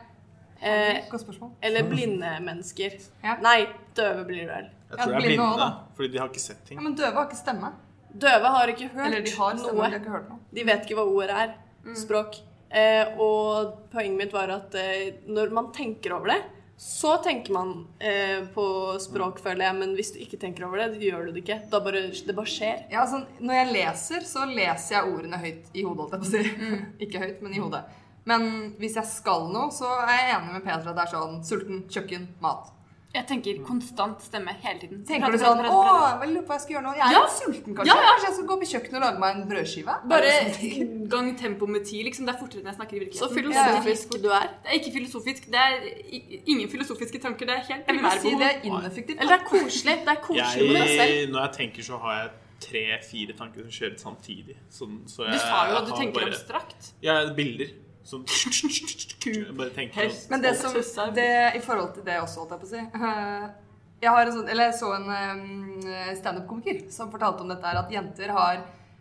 Speaker 4: Eh,
Speaker 3: Godt spørsmål.
Speaker 4: eller blinde mennesker.
Speaker 3: Ja.
Speaker 4: Nei, døve blir det vel.
Speaker 2: Jeg
Speaker 3: Ja,
Speaker 2: tror det er
Speaker 3: blinde også,
Speaker 2: blinde,
Speaker 3: da.
Speaker 2: fordi de har ikke sett
Speaker 3: Ja,
Speaker 2: ting.
Speaker 3: men døve har ikke stemme.
Speaker 4: Døve har ikke hørt
Speaker 3: Eller de har Mm. stemme,
Speaker 4: noe.
Speaker 3: de har ikke hørt noe.
Speaker 4: De vet ikke hva ordet er. Språk. Eh, og poenget mitt var at eh, når man tenker over det, så tenker man eh, på språk, føler jeg. Men hvis du ikke tenker over det, gjør du det ikke. Da bare, det bare skjer.
Speaker 3: Ja, altså, når jeg leser, så leser jeg ordene høyt i hodet, holdt jeg på å si. Ikke høyt, men i hodet. Men hvis jeg skal noe, så er jeg enig med Petra. Det er sånn sulten, kjøkken, mat.
Speaker 1: Jeg tenker konstant stemme hele tiden.
Speaker 3: Tenker du
Speaker 1: Prate,
Speaker 3: sånn
Speaker 1: prate,
Speaker 3: Å,
Speaker 1: prate, prate.
Speaker 3: jeg lurer på hva jeg skal gjøre nå. Jeg er
Speaker 1: Ja.
Speaker 3: litt sulten, kanskje.
Speaker 1: Ja, ja.
Speaker 3: Kanskje jeg skal gå på kjøkkenet og lage meg en brødskive?
Speaker 1: Bare
Speaker 3: Er det sånn?
Speaker 1: gang tempo med ti, liksom. Det er fortere enn jeg snakker i
Speaker 4: Så
Speaker 1: virkeligheten.
Speaker 4: filosofisk du er.
Speaker 1: Det er ikke filosofisk. Det er i- ingen filosofiske tanker. Det er helt
Speaker 3: Jeg vil si
Speaker 1: primærbehov.
Speaker 3: det er ineffektivt.
Speaker 4: Eller det er koselig. Det er koselig med deg selv.
Speaker 2: Jeg, når jeg tenker, så har jeg tre-fire tanker som skjer samtidig. Sånn, så jeg,
Speaker 1: Du sa jo at du
Speaker 2: har
Speaker 1: tenker
Speaker 2: bare,
Speaker 1: abstrakt.
Speaker 2: Ja, bilder. Sånn Jeg bare tenker at-
Speaker 1: Helst.
Speaker 3: Men det som, det, i forhold til det også, holdt jeg på å si eh, jeg, har en sånn, eller jeg så en eh, standup-komiker som fortalte om dette her, at jenter har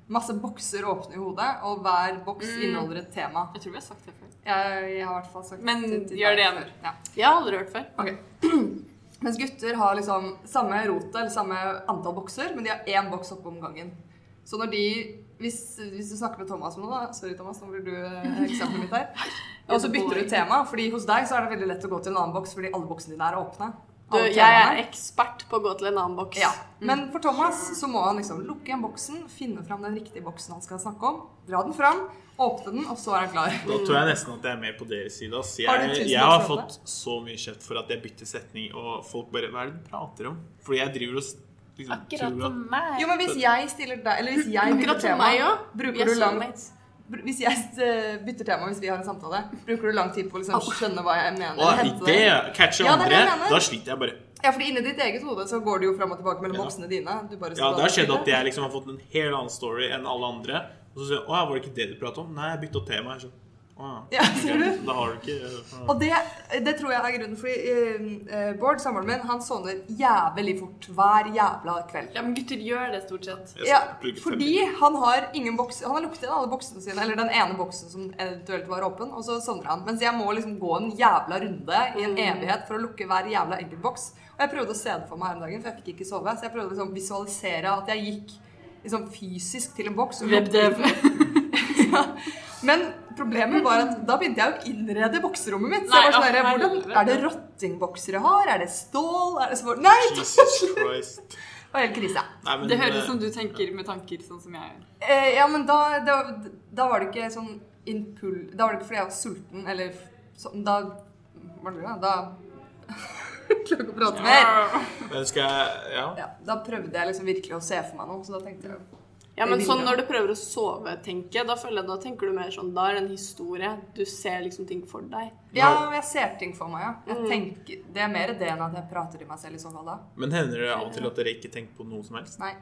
Speaker 3: masse bokser åpne i hodet, og hver boks
Speaker 1: Mm.
Speaker 3: inneholder et tema.
Speaker 1: Jeg tror vi har sagt det før.
Speaker 3: Jeg, jeg har i hvert fall sagt
Speaker 1: Men
Speaker 3: til- til
Speaker 1: gjør
Speaker 3: deg
Speaker 1: det igjen.
Speaker 3: før. Ja.
Speaker 4: Jeg har aldri hørt før.
Speaker 3: Mens gutter har liksom samme rotet, eller samme antall bokser, men de har én boks oppe om gangen. Så når de hvis, hvis du snakker med Thomas om noe, da Sorry, Thomas, nå blir du eh, eksempelet mitt her. Og så bytter du tema, fordi hos deg så er det veldig lett å gå til en annen boks fordi alle boksene dine er åpne.
Speaker 4: Du,
Speaker 3: Alle
Speaker 4: jeg
Speaker 3: temaene.
Speaker 4: er Mm. ekspert på å gå til en annen boks.
Speaker 3: Ja. Men for Thomas så må han liksom lukke igjen boksen, finne fram den riktige boksen han skal snakke om, dra den fram, åpne den, og så er han klar.
Speaker 2: Da tror jeg nesten at jeg er mer på deres side. ass. Jeg,
Speaker 3: Har du tusen
Speaker 2: jeg har
Speaker 3: eksempler?
Speaker 2: fått så mye kjeft for at jeg bytter setning, og folk bare Hva er det du prater om? Fordi jeg driver og s- liksom, tror at
Speaker 3: Jo, men hvis jeg stiller deg Eller hvis jeg bytter
Speaker 4: Akkurat som
Speaker 3: tema
Speaker 4: meg òg.
Speaker 3: Bruker du lang br- Hvis jeg eh, bytter tema hvis vi har en samtale, bruker du lang tid på å liksom skjønne hva jeg mener?
Speaker 2: Å,
Speaker 3: hente
Speaker 2: det
Speaker 3: det?
Speaker 2: catcher
Speaker 3: Ja, det er det
Speaker 2: andre.
Speaker 3: jeg mener.
Speaker 2: Da sliter jeg bare.
Speaker 3: Ja, fordi inni ditt eget hode så går det jo fram og tilbake mellom
Speaker 2: Ja.
Speaker 3: boksene dine. Du bare
Speaker 2: Ja,
Speaker 3: står
Speaker 2: Det har skjedd
Speaker 3: og-
Speaker 2: at jeg liksom har fått en helt annen story enn alle andre. Og så sier jeg Å ja, var det ikke det du pratet om? Nei, jeg bytta tema. Jeg er sånn, Å ja.
Speaker 3: Ja, ser du?
Speaker 2: Da har du ikke
Speaker 3: Og det, det tror jeg er grunnen, fordi eh, Bård, samboeren min, han sovner jævlig fort hver jævla kveld.
Speaker 1: Ja, men gutter gjør det stort sett.
Speaker 2: Jeg skal
Speaker 3: Ja,
Speaker 2: plugge fem
Speaker 3: fordi han har ingen boks Han har lukket inn alle boksene sine, eller den ene boksen som eventuelt var åpen, og så sovner han. Mens jeg må liksom gå en jævla runde i en
Speaker 1: Mm.
Speaker 3: evighet for å lukke hver jævla enkeltboks. Og jeg prøvde å se det for meg her om dagen, for jeg fikk ikke sove. Så jeg prøvde liksom å visualisere at jeg gikk liksom fysisk til en boks. og lukket
Speaker 1: Webdev.
Speaker 3: ja. Men problemet var at da begynte jeg å innrede bokserommet mitt. Så
Speaker 1: Nei,
Speaker 3: jeg var sånn
Speaker 1: å,
Speaker 3: der, hvordan,
Speaker 1: helvete.
Speaker 3: Er det rottingbokser jeg har? Er det stål? Er det svår? Nei!
Speaker 2: Jesus Christ.
Speaker 3: Det var helt krise.
Speaker 2: Nei, men,
Speaker 1: Det høres ut
Speaker 2: eh,
Speaker 1: som du tenker med tanker, sånn som jeg gjør.
Speaker 3: Eh, ja, men da, da, da var det ikke sånn impul... Da var det ikke fordi jeg var sulten, eller sånn Da var det det, da Klarer ikke å prate mer.
Speaker 2: eh, men skal jeg Ja.
Speaker 3: Ja, da prøvde jeg liksom virkelig å se for meg noe, så da tenkte jeg
Speaker 4: Ja, men
Speaker 3: Det vil
Speaker 4: sånn
Speaker 3: jeg.
Speaker 4: når du prøver å sove, tenke, da føler jeg da tenker du mer sånn Da er det en historie. Du ser liksom ting for deg.
Speaker 3: Ja, jeg ser ting for meg, ja. Jeg
Speaker 1: Mm.
Speaker 3: tenker, det er mer det enn at jeg prater i meg selv i så fall da.
Speaker 2: Men hender det av og til at dere ikke tenker på noe som helst?
Speaker 3: Nei.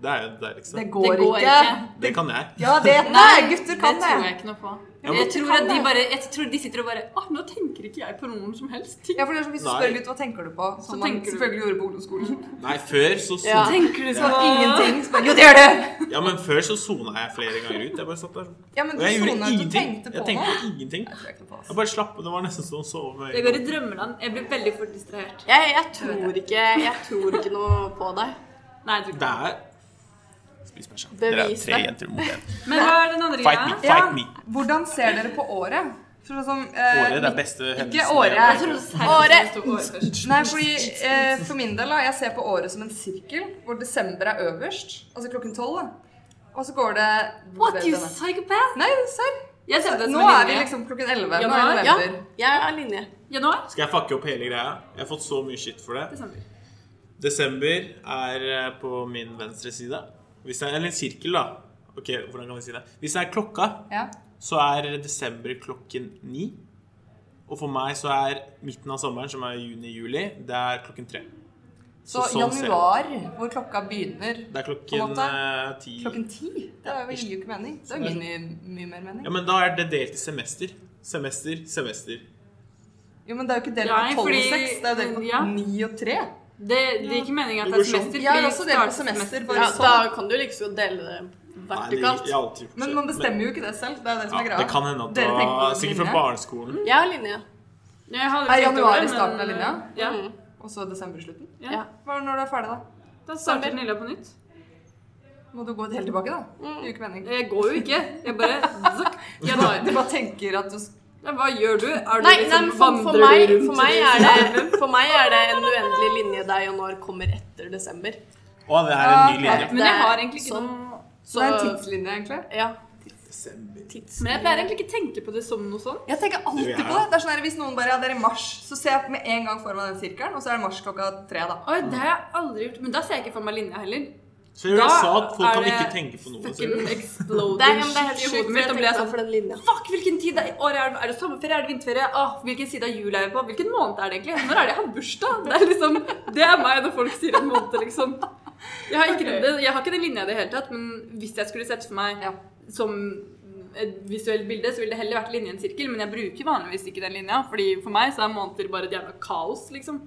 Speaker 2: Det er jo det deiligste.
Speaker 3: Det
Speaker 2: Det,
Speaker 3: går,
Speaker 1: Det går
Speaker 3: ikke.
Speaker 1: ikke.
Speaker 2: kan jeg.
Speaker 3: Ja, det Nei, gutter
Speaker 1: Det
Speaker 3: kan det.
Speaker 1: tror jeg ikke noe på.
Speaker 2: Ja, men-
Speaker 1: Jeg tror
Speaker 3: kan
Speaker 1: at de
Speaker 3: det.
Speaker 1: bare Jeg tror de sitter og bare Å, nå tenker ikke jeg på noen som helst ting.
Speaker 3: Ja, for det er sånn, Hvis du
Speaker 2: Nei.
Speaker 3: spør litt hva tenker du på, som man
Speaker 1: tenker du-
Speaker 3: selvfølgelig gjorde på ungdomsskolen
Speaker 2: Nei, før så sona
Speaker 4: Ja.
Speaker 1: Tenker du
Speaker 3: Så
Speaker 1: sånn
Speaker 3: ingenting. Så bare, jo, det gjør du!
Speaker 2: Ja, men før så sona jeg flere ganger ut. Jeg bare satt der sånn.
Speaker 3: Ja, men
Speaker 2: Og
Speaker 3: du
Speaker 2: jeg
Speaker 3: sona
Speaker 2: gjorde
Speaker 3: ut og
Speaker 2: ingenting.
Speaker 3: tenkte på
Speaker 2: Jeg tenkte
Speaker 3: noe.
Speaker 2: på ingenting.
Speaker 3: Jeg tror ikke på altså. oss.
Speaker 2: Jeg bare slapp Det var nesten sånn å sove med
Speaker 1: Jeg går i drømmeland. Jeg blir veldig fort distrahert.
Speaker 4: Jeg, jeg tror ikke Jeg tror ikke noe på deg.
Speaker 1: Nei, jeg tror ikke
Speaker 2: Det er Spis meg sjøl.
Speaker 4: Bevis
Speaker 2: Dere er tre
Speaker 4: det.
Speaker 2: jenter mot én.
Speaker 1: Men hva er den andre
Speaker 2: Fight me,
Speaker 1: greia?
Speaker 2: fight me.
Speaker 3: Hvordan ser dere på året? For sånn, eh,
Speaker 2: Året det er beste hendelsen.
Speaker 3: Ikke året.
Speaker 2: i-
Speaker 3: Jeg trodde
Speaker 1: Året! Året
Speaker 3: Nei, fordi eh, For min del, da, jeg ser på året som en sirkel, hvor desember er øverst. Altså klokken tolv. da. Og så går det
Speaker 1: What you psychopath?
Speaker 3: Nei, serr.
Speaker 1: Jeg ser på det som
Speaker 3: Nå
Speaker 1: en
Speaker 3: er vi
Speaker 1: linje.
Speaker 3: liksom klokken elleve. Nå
Speaker 4: Januar,
Speaker 3: er
Speaker 4: ja.
Speaker 3: november.
Speaker 4: Jeg er linje.
Speaker 1: Januar?
Speaker 2: Skal jeg fucke opp hele greia? Jeg har fått så mye shit for det.
Speaker 1: Desember.
Speaker 2: Desember er eh, på min venstre side. Hvis det er eller en sirkel, da. Ok, hvordan kan vi si det? Hvis det er klokka,
Speaker 3: Ja.
Speaker 2: så er desember klokken ni. Og for meg så er midten av sommeren, som er juni-juli, det er klokken tre.
Speaker 3: Så
Speaker 2: sånn ser jeg
Speaker 3: januar, hvor klokka begynner
Speaker 2: Det er
Speaker 3: på en
Speaker 2: klokken eh, ti.
Speaker 3: klokken ti? Det er jo- gir jo ikke mening. Det gir mye, mye mer mening.
Speaker 2: Ja, men da er det delt i semester. Semester, semester.
Speaker 3: Jo, men det er jo ikke delt
Speaker 1: Nei,
Speaker 3: på tolv og
Speaker 1: fordi-
Speaker 3: seks. Det er jo delt på
Speaker 1: ja.
Speaker 3: ni og tre.
Speaker 1: Det, det er ikke meningen at det er
Speaker 2: Det går sånn.
Speaker 1: semester.
Speaker 3: Jeg har
Speaker 1: fordi
Speaker 3: også delt på
Speaker 1: starter
Speaker 4: Ja,
Speaker 3: semester. Bare
Speaker 4: da
Speaker 3: sånn.
Speaker 4: kan du like så godt dele det
Speaker 2: Nei, det-
Speaker 4: vertikalt.
Speaker 2: jeg har alltid gjort
Speaker 3: Men
Speaker 2: det.
Speaker 3: man bestemmer jo ikke det selv. Det er jo det som er
Speaker 2: ja,
Speaker 3: greia.
Speaker 2: Det kan hende at det
Speaker 3: Dere tenker på
Speaker 2: var
Speaker 3: det
Speaker 2: sikkert
Speaker 3: som
Speaker 2: fra
Speaker 3: linje.
Speaker 2: barneskolen.
Speaker 4: Jeg er linje.
Speaker 1: Jeg hadde
Speaker 3: Er
Speaker 1: tenkt
Speaker 3: januar
Speaker 1: over
Speaker 3: i
Speaker 1: det,
Speaker 3: starten
Speaker 1: men-
Speaker 3: av linja?
Speaker 1: Ja.
Speaker 4: Mm.
Speaker 3: Og så desember i slutten.
Speaker 1: ja.
Speaker 4: Ja.
Speaker 3: Hva er det når du er ferdig, da?
Speaker 1: Da starter Nilla på nytt.
Speaker 3: Må du gå helt tilbake, da? Det gir jo ikke mening.
Speaker 1: Jeg går jo ikke. Jeg bare zukk. Januar.
Speaker 3: Du bare tenker at du sk-
Speaker 1: Ja, Hva gjør du? Er du
Speaker 4: Nei, nei,
Speaker 1: liksom
Speaker 4: men for,
Speaker 1: vandrer
Speaker 4: for,
Speaker 1: du
Speaker 4: meg,
Speaker 1: rundt
Speaker 4: for, meg er det, for meg er det en uendelig linje der januar kommer etter desember.
Speaker 2: Å, det er en ny
Speaker 3: Ja,
Speaker 2: linje.
Speaker 1: Men jeg har egentlig ikke
Speaker 4: Sånn.
Speaker 1: noe
Speaker 3: Så
Speaker 4: Så
Speaker 3: det er en tidslinje, egentlig.
Speaker 4: ja.
Speaker 2: Desember.
Speaker 1: Men jeg pleier egentlig ikke å tenke på det som noe sånn.
Speaker 3: Jeg tenker
Speaker 2: Det
Speaker 3: alltid
Speaker 2: gjør jeg.
Speaker 3: på det. Det er sånn her, Hvis noen bare ja, det er i mars, så ser jeg med en gang for meg den sirkelen, og så er det mars klokka tre, da.
Speaker 1: Oi, det har jeg aldri gjort. Men da ser jeg ikke for meg linja heller.
Speaker 2: Så jeg, jeg
Speaker 1: Da
Speaker 2: sa at folk
Speaker 1: er
Speaker 2: kan
Speaker 1: det
Speaker 2: ikke tenke på noe. altså.
Speaker 1: Fucking
Speaker 2: selv.
Speaker 4: Det er,
Speaker 1: exploding
Speaker 4: ja, men det er helt
Speaker 1: shit i
Speaker 4: sjukt.
Speaker 1: hodet
Speaker 4: for
Speaker 1: mitt.
Speaker 4: Jeg
Speaker 1: Og ble jeg
Speaker 4: tenkte
Speaker 1: sånn
Speaker 4: for den linja.
Speaker 1: Fuck, hvilken tid er, året er det? Er det sommerferie? Er det vinterferie? Åh, hvilken side av jula er jeg på? Hvilken måned er det egentlig? Når er det jeg har bursdag? Det er liksom, det er meg når folk sier en måned, liksom. Jeg har ikke, den- jeg har ikke den linja i det hele tatt, men hvis jeg skulle sett for meg
Speaker 3: Ja.
Speaker 1: som et visuelt bilde, så ville det heller vært linje enn sirkel, men jeg bruker vanligvis ikke den linja, fordi for meg så er måneder bare et jævla kaos, liksom.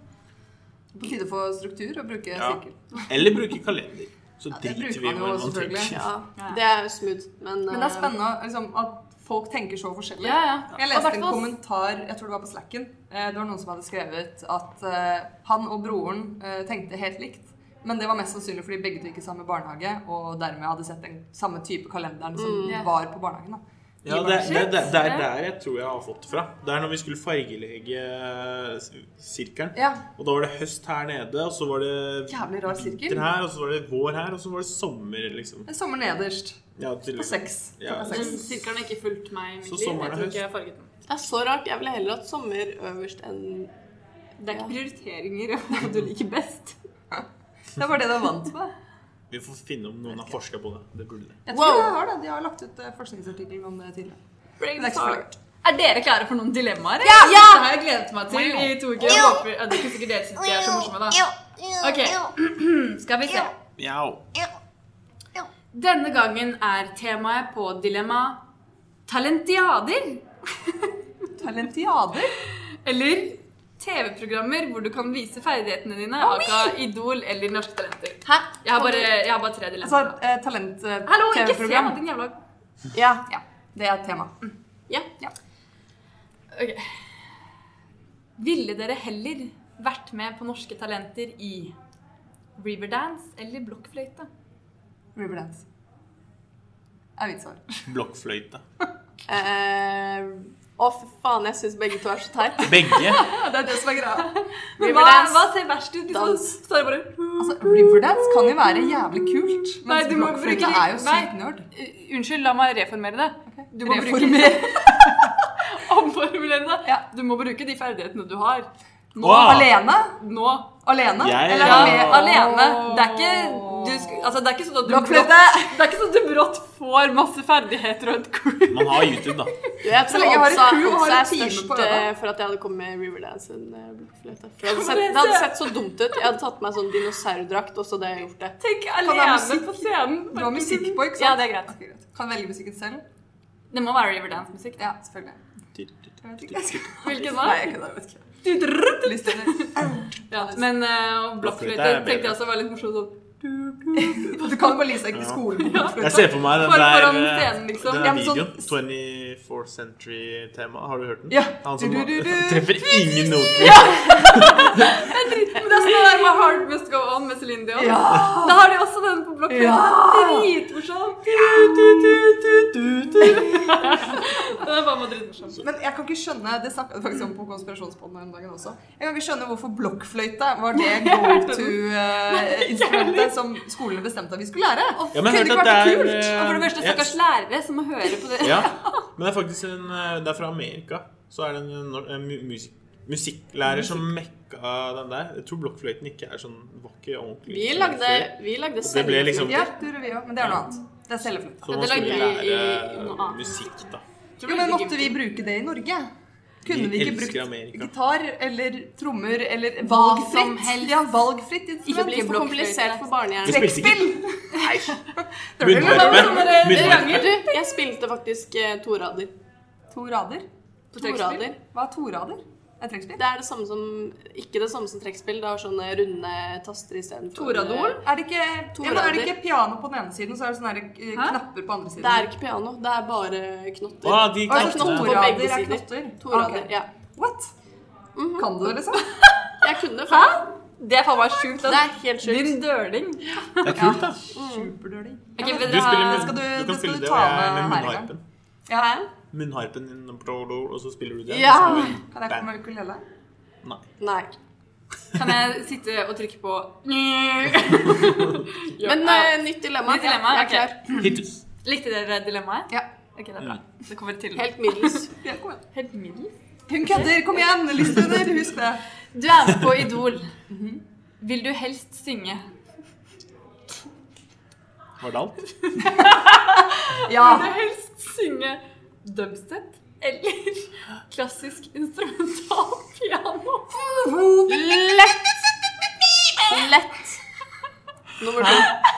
Speaker 3: På tide å få struktur og bruke
Speaker 2: Ja.
Speaker 3: sirkel.
Speaker 2: Eller bruke kalender. Så
Speaker 3: det
Speaker 2: driter
Speaker 3: bruker
Speaker 2: vi i
Speaker 3: man jo
Speaker 2: hvordan man
Speaker 3: selvfølgelig.
Speaker 2: tenker.
Speaker 4: Ja, det er smooth, men,
Speaker 3: Men det er
Speaker 4: eh,
Speaker 3: spennende liksom, at folk tenker så forskjellig.
Speaker 1: Ja, ja.
Speaker 3: Jeg
Speaker 1: Og
Speaker 3: leste en
Speaker 1: hvertfall-
Speaker 3: kommentar jeg tror det var på Slacken. Eh, Det var noen som hadde skrevet at eh, han og broren eh, tenkte helt likt. Men det var mest sannsynlig fordi begge to gikk i samme barnehage og dermed hadde sett den samme type kalenderen som
Speaker 1: Mm. Ja.
Speaker 3: var på barnehagen. Da.
Speaker 2: Ja, det, det, det, det er der jeg tror jeg har fått det fra. Det er når vi skulle fargelegge eh, sirkelen.
Speaker 3: Ja,
Speaker 2: Og da var det høst her nede, og så var det
Speaker 3: Jævlig rar sirkel.
Speaker 2: vinter her, og så var det vår her, og så var det sommer, liksom.
Speaker 3: en sommer nederst.
Speaker 2: Ja,
Speaker 3: På
Speaker 2: tydeligvis.
Speaker 3: seks.
Speaker 2: Ja.
Speaker 3: Klokka
Speaker 1: Den
Speaker 3: seks.
Speaker 1: sirkelen har ikke fulgt meg,
Speaker 2: Så
Speaker 1: Mikkel.
Speaker 2: sommeren
Speaker 1: Jeg
Speaker 2: er
Speaker 1: tror ikke
Speaker 2: høst.
Speaker 1: jeg har farget den.
Speaker 4: eh, det er så rart. Jeg ville heller hatt sommer øverst enn
Speaker 1: Det er ikke prioriteringer og hva du liker best.
Speaker 3: Det var det de vant med.
Speaker 2: Vi får finne om noen har forska på det. Det burde det.
Speaker 3: Jeg tror
Speaker 4: Wow.
Speaker 3: de har det. De har lagt ut eh, forskningsartikler om det tidligere. Men det er ikke så farlig.
Speaker 1: Er dere klare for noen dilemmaer? Ja! ja! Det har jeg gledet meg til i to uker. Jeg håper at det er ikke sikkert dere synes de er så morsomme, da. Ok, skal vi se.
Speaker 2: Mjau.
Speaker 1: Denne gangen er temaet på dilemma talentiader.
Speaker 3: Talentiader.
Speaker 1: Eller TV-programmer hvor du kan vise ferdighetene dine, aka Idol eller Norske Talenter.
Speaker 4: Hæ?
Speaker 1: Jeg har bare, jeg har bare tre
Speaker 3: Altså
Speaker 1: dilemmaer.
Speaker 3: eh, talent eh,
Speaker 1: Hallo, ikke se
Speaker 3: TV-program.
Speaker 1: meg, din jævla
Speaker 4: Ja.
Speaker 3: Ja, det er et tema.
Speaker 1: Ok. Ville dere heller vært med på Norske Talenter i Riverdance eller blokkfløyte?
Speaker 3: Riverdance. Er mitt svar.
Speaker 2: Blokkfløyte.
Speaker 4: Eh, Å, for faen, jeg syns begge to er så teit.
Speaker 2: Begge.
Speaker 3: Det er det som er greia.
Speaker 1: Men hva,
Speaker 4: Riverdance.
Speaker 1: hva ser verst ut? Liksom,
Speaker 4: Dans.
Speaker 1: står det bare
Speaker 3: Altså, Riverdance kan jo være jævlig kult,
Speaker 1: Nei,
Speaker 3: men
Speaker 1: du må
Speaker 3: blokkfløyte
Speaker 1: bruke-
Speaker 3: er jo sykt nerd.
Speaker 1: Uh, Unnskyld, la meg reformere det. Du må
Speaker 3: Reformer.
Speaker 1: bruke Omformulere det.
Speaker 3: Ja.
Speaker 1: Du må bruke de ferdighetene du har. Nå.
Speaker 2: Wow.
Speaker 3: Alene?
Speaker 1: Nå.
Speaker 3: Alene?
Speaker 2: Jeg-
Speaker 3: Eller
Speaker 2: Ja.
Speaker 3: ale- alene?
Speaker 1: Det er ikke du, sk- altså, det er ikke sånn at du brått,
Speaker 3: Blokkfløyte!
Speaker 1: det er ikke sånn at du brått får masse ferdigheter og et crew.
Speaker 2: Man har YouTube, da.
Speaker 4: Du, jeg
Speaker 3: Så
Speaker 4: tror
Speaker 3: lenge jeg har et
Speaker 4: Odds er-
Speaker 3: crew og har
Speaker 4: Odds
Speaker 3: en
Speaker 4: er
Speaker 3: time
Speaker 4: størst
Speaker 3: på øra.
Speaker 4: eh, for at jeg hadde kommet med Riverdance enn eh, blokkfløyte. For det hadde,
Speaker 1: Kan
Speaker 4: sett,
Speaker 1: dere
Speaker 4: det hadde
Speaker 1: se-
Speaker 4: sett så dumt ut. Jeg hadde tatt meg sånn dinosaurdrakt, og så hadde jeg gjort det.
Speaker 1: Tenk
Speaker 3: det være
Speaker 1: alene
Speaker 3: musikk?
Speaker 1: på scenen.
Speaker 3: Du har musikk på, ikke sant?
Speaker 1: Ja, det er greit.
Speaker 3: Ok, Kan velge musikken selv?
Speaker 1: Det må være Riverdance-musikk.
Speaker 3: Ja, selvfølgelig.
Speaker 1: Hvilken
Speaker 3: Nei,
Speaker 1: var?
Speaker 3: jeg kødder, jeg vet ikke.
Speaker 1: det?
Speaker 3: Lyst til det.
Speaker 1: Ja, men uh,
Speaker 2: Blokkfløyte
Speaker 1: blokkfløyte
Speaker 2: er bedre.
Speaker 1: tenkte jeg også var litt morsomt. Sånn.
Speaker 3: Du kan bare lyse deg i skolen. med
Speaker 2: Jeg
Speaker 3: blokkfløyte.
Speaker 2: ser for meg den
Speaker 1: For-
Speaker 2: der,
Speaker 1: foran
Speaker 2: eh,
Speaker 1: scenen, liksom.
Speaker 2: den
Speaker 3: Ja,
Speaker 2: der
Speaker 3: men sånn-
Speaker 2: videoen. 24th Century-tema. Har du hørt den?
Speaker 3: Ja.
Speaker 2: Han som
Speaker 3: Du, du, du, du.
Speaker 2: treffer ingen noter.
Speaker 1: Men det er sånn det der med Heart Must Go On med Celine Dion. Da har de også den på blokkfløyta.
Speaker 3: Ja.
Speaker 1: Dritmorsom. Den er bare med dritmorsom.
Speaker 3: Men jeg kan ikke skjønne Det snakket vi faktisk om på Konspirasjonspodden her om dagen også. Jeg kan ikke skjønne hvorfor blokkfløyte var det go to-instrumentet som skolene bestemte at vi skulle lære.
Speaker 2: Ja, men jeg hørte
Speaker 3: Kunne
Speaker 2: at
Speaker 3: ikke vært
Speaker 2: det er
Speaker 3: kult.
Speaker 2: eh,
Speaker 1: For det første,
Speaker 2: ja,
Speaker 1: stakkars lærere som må høre på det.
Speaker 2: Ja, men det er faktisk en eh, Det er fra Amerika. Så er det en, nor- en mu- musik, musikklærer som mekka den der. Jeg tror blokkfløyten ikke er sånn var ikke ordentlig.
Speaker 4: Vi lagde,
Speaker 2: instrument før.
Speaker 4: vi lagde
Speaker 2: Så det ble liksom-
Speaker 4: selvfløyte.
Speaker 3: Ja, det gjorde vi òg, men det er noe annet. Det er cellefløyte.
Speaker 2: Så man
Speaker 4: det lagde
Speaker 2: skulle
Speaker 4: vi i- i noe
Speaker 2: lære
Speaker 4: annet.
Speaker 2: musikk, da.
Speaker 4: Tror du
Speaker 3: Jo, men
Speaker 4: det
Speaker 3: måtte
Speaker 4: gikk-
Speaker 3: vi bruke det i Norge? Kunne vi
Speaker 2: Vi
Speaker 3: ikke
Speaker 2: elsker
Speaker 3: brukt
Speaker 2: Amerika.
Speaker 3: gitar eller trommer eller
Speaker 1: som
Speaker 3: valgfritt?
Speaker 1: helst.
Speaker 3: Ja, valgfritt
Speaker 4: Ikke bli
Speaker 3: instrument.
Speaker 4: for komplisert for
Speaker 2: Vi
Speaker 4: barnehjernen.
Speaker 2: spilte ikke
Speaker 3: Det var vel
Speaker 2: munnvarpe.
Speaker 3: sånn der-
Speaker 2: Munnvarpe.
Speaker 4: Du, jeg spilte faktisk eh, to rader.
Speaker 3: To rader.
Speaker 4: To rader.
Speaker 3: Hva er to rader? Er trekkspill?
Speaker 4: Det er det samme som Ikke det samme som trekkspill. Det har sånne runde taster istedenfor eh,
Speaker 3: Toradol? Er det ikke,
Speaker 4: To
Speaker 3: ja, men er
Speaker 4: rader.
Speaker 3: det ikke piano på den ene siden, så er det sånne her, eh, knapper på andre siden?
Speaker 4: Det er ikke piano. Det er bare knotter.
Speaker 2: Å, de
Speaker 3: Hva er det
Speaker 4: knotter
Speaker 3: for
Speaker 4: på
Speaker 2: knottene.
Speaker 3: torader
Speaker 4: begge
Speaker 3: er
Speaker 4: sider.
Speaker 3: knotter?
Speaker 4: To rader,
Speaker 3: Ok.
Speaker 4: ja.
Speaker 3: What? Kan du det, liksom?
Speaker 4: Jeg kunne det før.
Speaker 1: Det er faen meg sjukt. ass.
Speaker 4: Det er helt sjukt.
Speaker 1: Din døling.
Speaker 2: Det er kult, da.
Speaker 3: Superdårlig.
Speaker 1: Ok, men det
Speaker 2: Du spiller
Speaker 1: her-
Speaker 2: med,
Speaker 3: skal du-
Speaker 2: du
Speaker 3: det
Speaker 2: kan
Speaker 3: skal
Speaker 2: spille
Speaker 3: du
Speaker 2: det,
Speaker 3: ta
Speaker 2: og jeg
Speaker 3: med
Speaker 2: med
Speaker 3: her en gang.
Speaker 2: munnharpen.
Speaker 3: Ja,
Speaker 2: Munnharpen din, og så spiller du den.
Speaker 4: Ja.
Speaker 2: og så-
Speaker 3: kan jeg komme med ukulele?
Speaker 2: Nei.
Speaker 4: Nei.
Speaker 1: Kan jeg sitte og trykke på
Speaker 4: Men eh, nytt dilemma.
Speaker 1: Nytt dilemma,
Speaker 4: Jeg er klar.
Speaker 2: Hittus.
Speaker 1: Likte dere dilemmaet?
Speaker 3: Ja.
Speaker 1: Ok, det er bra. Det kommer til.
Speaker 4: Helt middels.
Speaker 3: Ja, kom igjen.
Speaker 1: Helt middels.
Speaker 3: Hun kødder! Kom igjen! Lysthunder, husk det.
Speaker 1: Du er med på Idol. Mhm. Vil du helst synge?
Speaker 2: Var det alt?
Speaker 3: Ja.
Speaker 1: Vil du helst synge dubstep eller klassisk instrumental piano?
Speaker 4: Lett. Lett. Nummer to.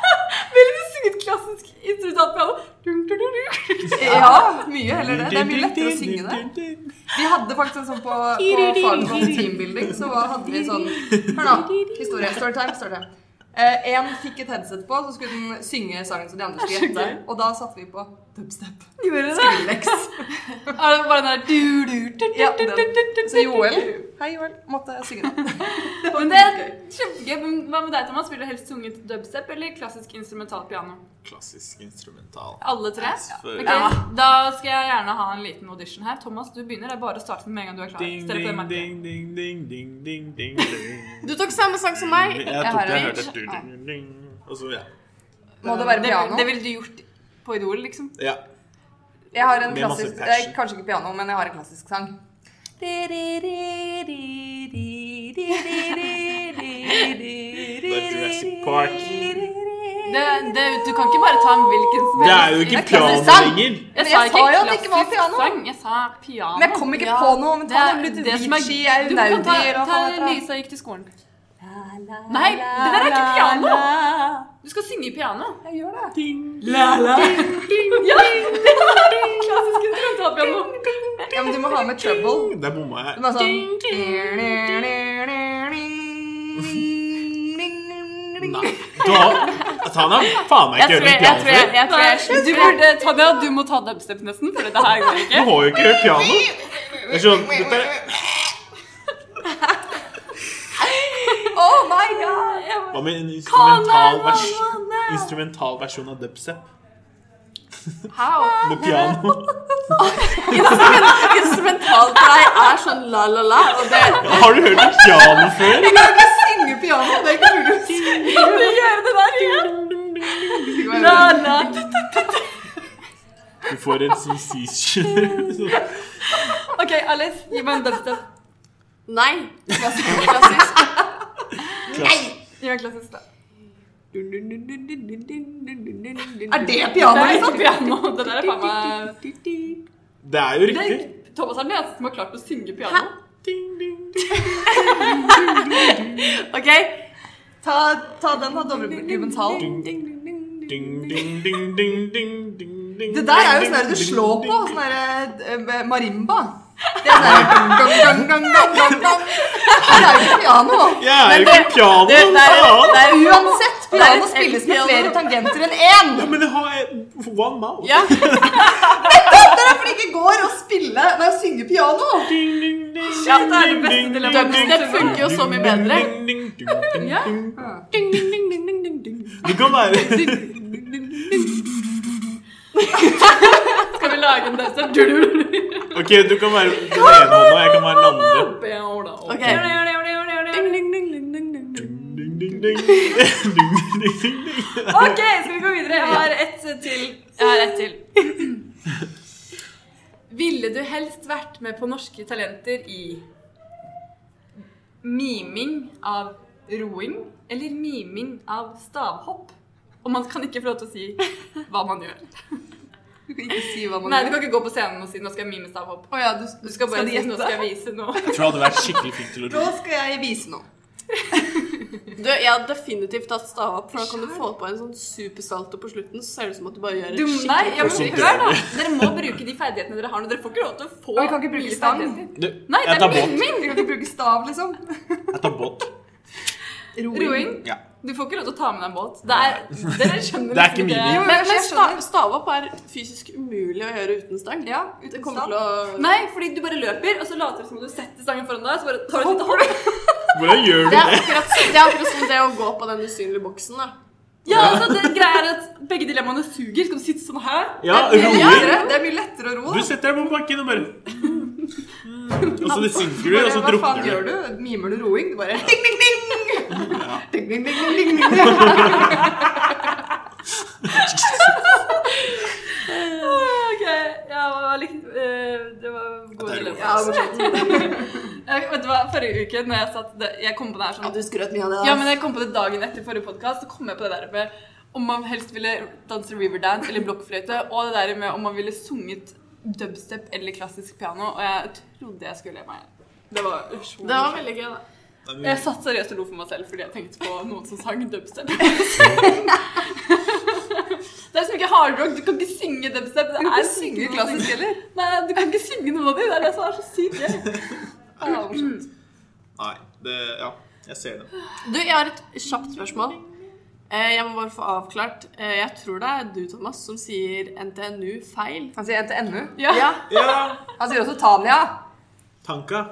Speaker 1: Vil du synge et klassisk instrumental piano? Dun, dun, dun, dun.
Speaker 3: Ja, mye heller det. Det er mye lettere å synge det. Vi hadde faktisk en sånn på, på Fagfolk teambuilding, så var- hadde vi sånn Hør nå. Historie. Storytime. storytime. Eh, en fikk et headset på, så skulle den synge sangen som de andre skulle gjette. Og da satte vi på dubstep.
Speaker 1: Gjorde det?
Speaker 3: Skrillex.
Speaker 1: Er det bare den der du, du, du, du,
Speaker 3: Ja,
Speaker 1: du, du, du, du,
Speaker 3: den. Så Joel Hei, Joel. Måtte synge den.
Speaker 1: Men det er kjempegøy. Men Hva med deg, Thomas? Vil du helst sunget dubstep eller klassisk instrumental piano?
Speaker 2: Klassisk instrumental.
Speaker 1: Alle tre?
Speaker 2: For-
Speaker 1: Ok, Da skal jeg gjerne ha en liten audition her. Thomas, du begynner. Det er bare å starte med en gang du er klar.
Speaker 2: Ding,
Speaker 1: Stell på den
Speaker 2: ding,
Speaker 1: marken.
Speaker 2: ding, ding, ding, ding, ding, ding, ding.
Speaker 4: Du tok samme sang som meg.
Speaker 2: Jeg tok
Speaker 3: har
Speaker 2: det, jeg
Speaker 3: en.
Speaker 2: hørte ding, ding, ding. Og så, ja.
Speaker 3: Må det være
Speaker 1: Det,
Speaker 3: piano?
Speaker 1: det ville du gjort på Idol, liksom.
Speaker 2: ja.
Speaker 3: Jeg har en
Speaker 2: Med masse
Speaker 3: klassisk
Speaker 2: passion.
Speaker 3: eh, Kanskje ikke piano, men jeg har en klassisk sang.
Speaker 2: Det er Jurassic Park.
Speaker 1: Det, det, du kan ikke bare ta en hvilken som
Speaker 2: Det er jo ikke
Speaker 3: Det er
Speaker 2: piano
Speaker 3: klassisk sang.
Speaker 2: lenger.
Speaker 1: Jeg
Speaker 3: Men
Speaker 1: sa
Speaker 3: jeg
Speaker 1: ikke
Speaker 3: sa jo at det ikke var
Speaker 1: klassisk
Speaker 3: piano.
Speaker 1: sang, jeg sa piano.
Speaker 3: Men jeg kom ikke på noe. Men
Speaker 1: Det
Speaker 3: ta
Speaker 1: er
Speaker 3: det,
Speaker 1: det som er-
Speaker 3: Ludovici, er
Speaker 1: Du kan ta,
Speaker 3: Unaudi og
Speaker 1: ta
Speaker 3: hva heter det?
Speaker 1: Lisa gikk til skolen. Nei, det der er ikke piano! Du skal synge i piano.
Speaker 3: Jeg gjør det.
Speaker 1: Ja, klassisk instrumentalpiano.
Speaker 3: Ja, men du må ha med trouble.
Speaker 2: Der bomma jeg.
Speaker 3: Du må ha sånn
Speaker 1: Ding,
Speaker 2: Nei. Da, ta den av. Faen meg ikke
Speaker 4: Jeg
Speaker 2: hørt
Speaker 4: tror jeg,
Speaker 2: noe
Speaker 4: jeg,
Speaker 2: piano
Speaker 4: tror jeg,
Speaker 2: før.
Speaker 4: jeg, tror jeg
Speaker 1: Du burde, Tanja, du må ta dubstep nesten, for dette her går
Speaker 2: Du
Speaker 1: ikke.
Speaker 2: har jo ikke hørt piano. Det er sånn, dette er-
Speaker 3: Oh my god!
Speaker 2: Hva med en instrumental, vers, instrumental versjon av dubstep?
Speaker 4: How?
Speaker 2: Med piano.
Speaker 4: Instrumental for deg er sånn la-la-la, og det
Speaker 2: Har du hørt et piano før?
Speaker 3: Jeg kan ikke synge piano. Det er ikke mulig å synge.
Speaker 1: Kan du gjøre det der igjen? La, la.
Speaker 2: Du får en sensation.
Speaker 1: Ok, Alice, gi meg en dubstep.
Speaker 4: Nei. Klassisk. klassisk.
Speaker 1: Gi meg en klassisk, da.
Speaker 3: Er det piano,
Speaker 1: Det er
Speaker 3: liksom?
Speaker 1: ikke piano. Det der er faen meg
Speaker 2: Det er jo
Speaker 1: Det
Speaker 2: riktig.
Speaker 1: er- Thomas er den eneste som har klart å synge piano.
Speaker 4: OK.
Speaker 3: Ta, ta den av Dovregubbens hall.
Speaker 2: Ding, ding, ding, ding, ding, ding, ding,
Speaker 3: Det der er jo sånn
Speaker 2: ding,
Speaker 3: her du
Speaker 2: ding,
Speaker 3: slår
Speaker 2: ding,
Speaker 3: på.
Speaker 2: ding.
Speaker 3: Sånn her eh, marimba. Det er sånn her gang, gang, gang, gang, gang, gang. Det er jo ikke piano.
Speaker 2: Jeg er jo ikke piano.
Speaker 4: Det, det, er,
Speaker 2: faen.
Speaker 4: det er
Speaker 3: Uansett, piano
Speaker 4: Det er et
Speaker 3: spilles med
Speaker 4: piano.
Speaker 3: flere tangenter enn én.
Speaker 2: Ja, men jeg har en- one mouth.
Speaker 4: Ja.
Speaker 3: Dette er derfor det ikke går å spille Nei, å synge piano!
Speaker 1: Ja, det er det beste dilemmaet.
Speaker 4: Dubstep funker jo så mye bedre.
Speaker 2: Ja.
Speaker 4: Ding, ding, ding, ding, ding, ding, ding.
Speaker 2: Det kan være
Speaker 1: Skal vi lage en dubstep? Du, du, du, du.
Speaker 2: Ok, du kan være den ene hånda, jeg kan være den andre.
Speaker 4: Ok. Ding,
Speaker 1: Ok,
Speaker 4: ding, ding, ding, ding, ding, ding.
Speaker 2: Ding, ding, ding. Ding, ding, ding, ding.
Speaker 1: skal vi gå videre? Jeg har ett til. Jeg har ett til. Ville du helst vært med på Norske Talenter i miming av roing eller miming av stavhopp? Og man kan ikke få lov til å si hva man gjør.
Speaker 3: Du kan ikke si hva man
Speaker 1: Nei, du
Speaker 3: gjør.
Speaker 1: kan ikke gå på scenen og si 'nå skal jeg mime stavhopp'.
Speaker 3: Å ja, du, du
Speaker 1: Du skal bare
Speaker 3: de
Speaker 1: si 'nå
Speaker 3: gjette?
Speaker 1: skal jeg vise noe'.
Speaker 2: Jeg tror jeg hadde vært skikkelig flink til å
Speaker 3: Nå
Speaker 2: ro.
Speaker 3: skal jeg vise noe.
Speaker 4: Du, jeg har definitivt tatt stavhopp, for da kan du få på en sånn supersalto på slutten, så ser det ut som at du bare gjør et
Speaker 1: Du,
Speaker 4: skikkelig
Speaker 1: nei, ja, men
Speaker 2: Sånn
Speaker 1: hør da. Dere må bruke de ferdighetene dere har. når Dere får ikke lov til å få
Speaker 3: vi kan ikke bruke
Speaker 1: nye
Speaker 3: stang.
Speaker 1: ferdigheter.
Speaker 2: Du,
Speaker 1: Nei,
Speaker 2: jeg
Speaker 1: det
Speaker 2: tar
Speaker 1: er
Speaker 2: båt.
Speaker 1: miming!
Speaker 3: Du kan ikke bruke stav, liksom.
Speaker 2: Jeg tar båt.
Speaker 1: Roing.
Speaker 2: Mm. Ja.
Speaker 1: Du får ikke lov til å ta med deg en båt. Det er, dere skjønner liksom
Speaker 2: Det er ikke miming.
Speaker 1: det.
Speaker 4: Men,
Speaker 3: Jeg
Speaker 4: men sta,
Speaker 3: skjønner.
Speaker 4: stavhopp er fysisk umulig å gjøre uten stang.
Speaker 3: Ja,
Speaker 4: det
Speaker 3: uten
Speaker 4: kommer
Speaker 3: stav.
Speaker 4: til å
Speaker 1: Nei, fordi du bare løper, og så later du som om du setter stangen foran deg, så bare tar du et lite hopp.
Speaker 2: Hvordan gjør du
Speaker 4: Det er
Speaker 2: det?
Speaker 4: akkurat, det er akkurat som det å gå på den usynlige boksen. da.
Speaker 1: Ja, altså, det greia er at begge dilemmaene suger. Skal du sitte sånn her?
Speaker 2: Ja,
Speaker 3: Det er mye
Speaker 2: roer.
Speaker 3: lettere- det er mye lettere å ro.
Speaker 2: Du
Speaker 3: da.
Speaker 2: setter deg på bakken og bare Mm. Og så det synker du,
Speaker 3: Bare,
Speaker 2: og så
Speaker 3: Hva faen
Speaker 2: drukner
Speaker 3: gjør
Speaker 2: du.
Speaker 3: du? Mimer du roing? Du bare ding, ding, ding! ding, ding, ding, ding, ding, ding.
Speaker 1: Ah, Ok, ja, hva likte- eh, det var gode
Speaker 2: Det er roing.
Speaker 1: dilemmaer.
Speaker 3: Ja, morsomt.
Speaker 1: Jeg- Vet du hva, forrige uke når jeg satt det- Jeg kom på det her
Speaker 4: Ja,
Speaker 1: sånn
Speaker 4: du skrøt mye av det. da.
Speaker 1: Ja, men jeg kom på det dagen etter forrige podkast. Så kom jeg på det der med om man helst ville danse riverdance eller blokkfløyte. Og det der med om man ville sunget dubstep eller klassisk piano. Og jeg trodde jeg skulle le meg. Det var så
Speaker 4: Det var
Speaker 1: morsomt.
Speaker 4: veldig gøy, da.
Speaker 1: Jeg satt seriøst og lo for meg selv fordi jeg tenkte på noen som sang dubstep. det er så mye hardrock. Du kan ikke synge dubstep. Det
Speaker 3: Du kan
Speaker 1: er
Speaker 3: ikke synge
Speaker 1: noen
Speaker 3: klassisk
Speaker 1: ting.
Speaker 3: heller.
Speaker 1: Nei, du kan ikke synge noen av dem. Det er det som er så sykt gøy.
Speaker 2: Nei, det Ja, jeg ser det.
Speaker 4: Du, jeg har et kjapt spørsmål. Eh, Jeg må bare få avklart. Eh, Jeg tror det er du, Thomas, som sier NTNU feil.
Speaker 3: Han sier NTNU.
Speaker 4: Ja,
Speaker 2: Ja,
Speaker 3: Han sier også Tania.
Speaker 2: Tanka.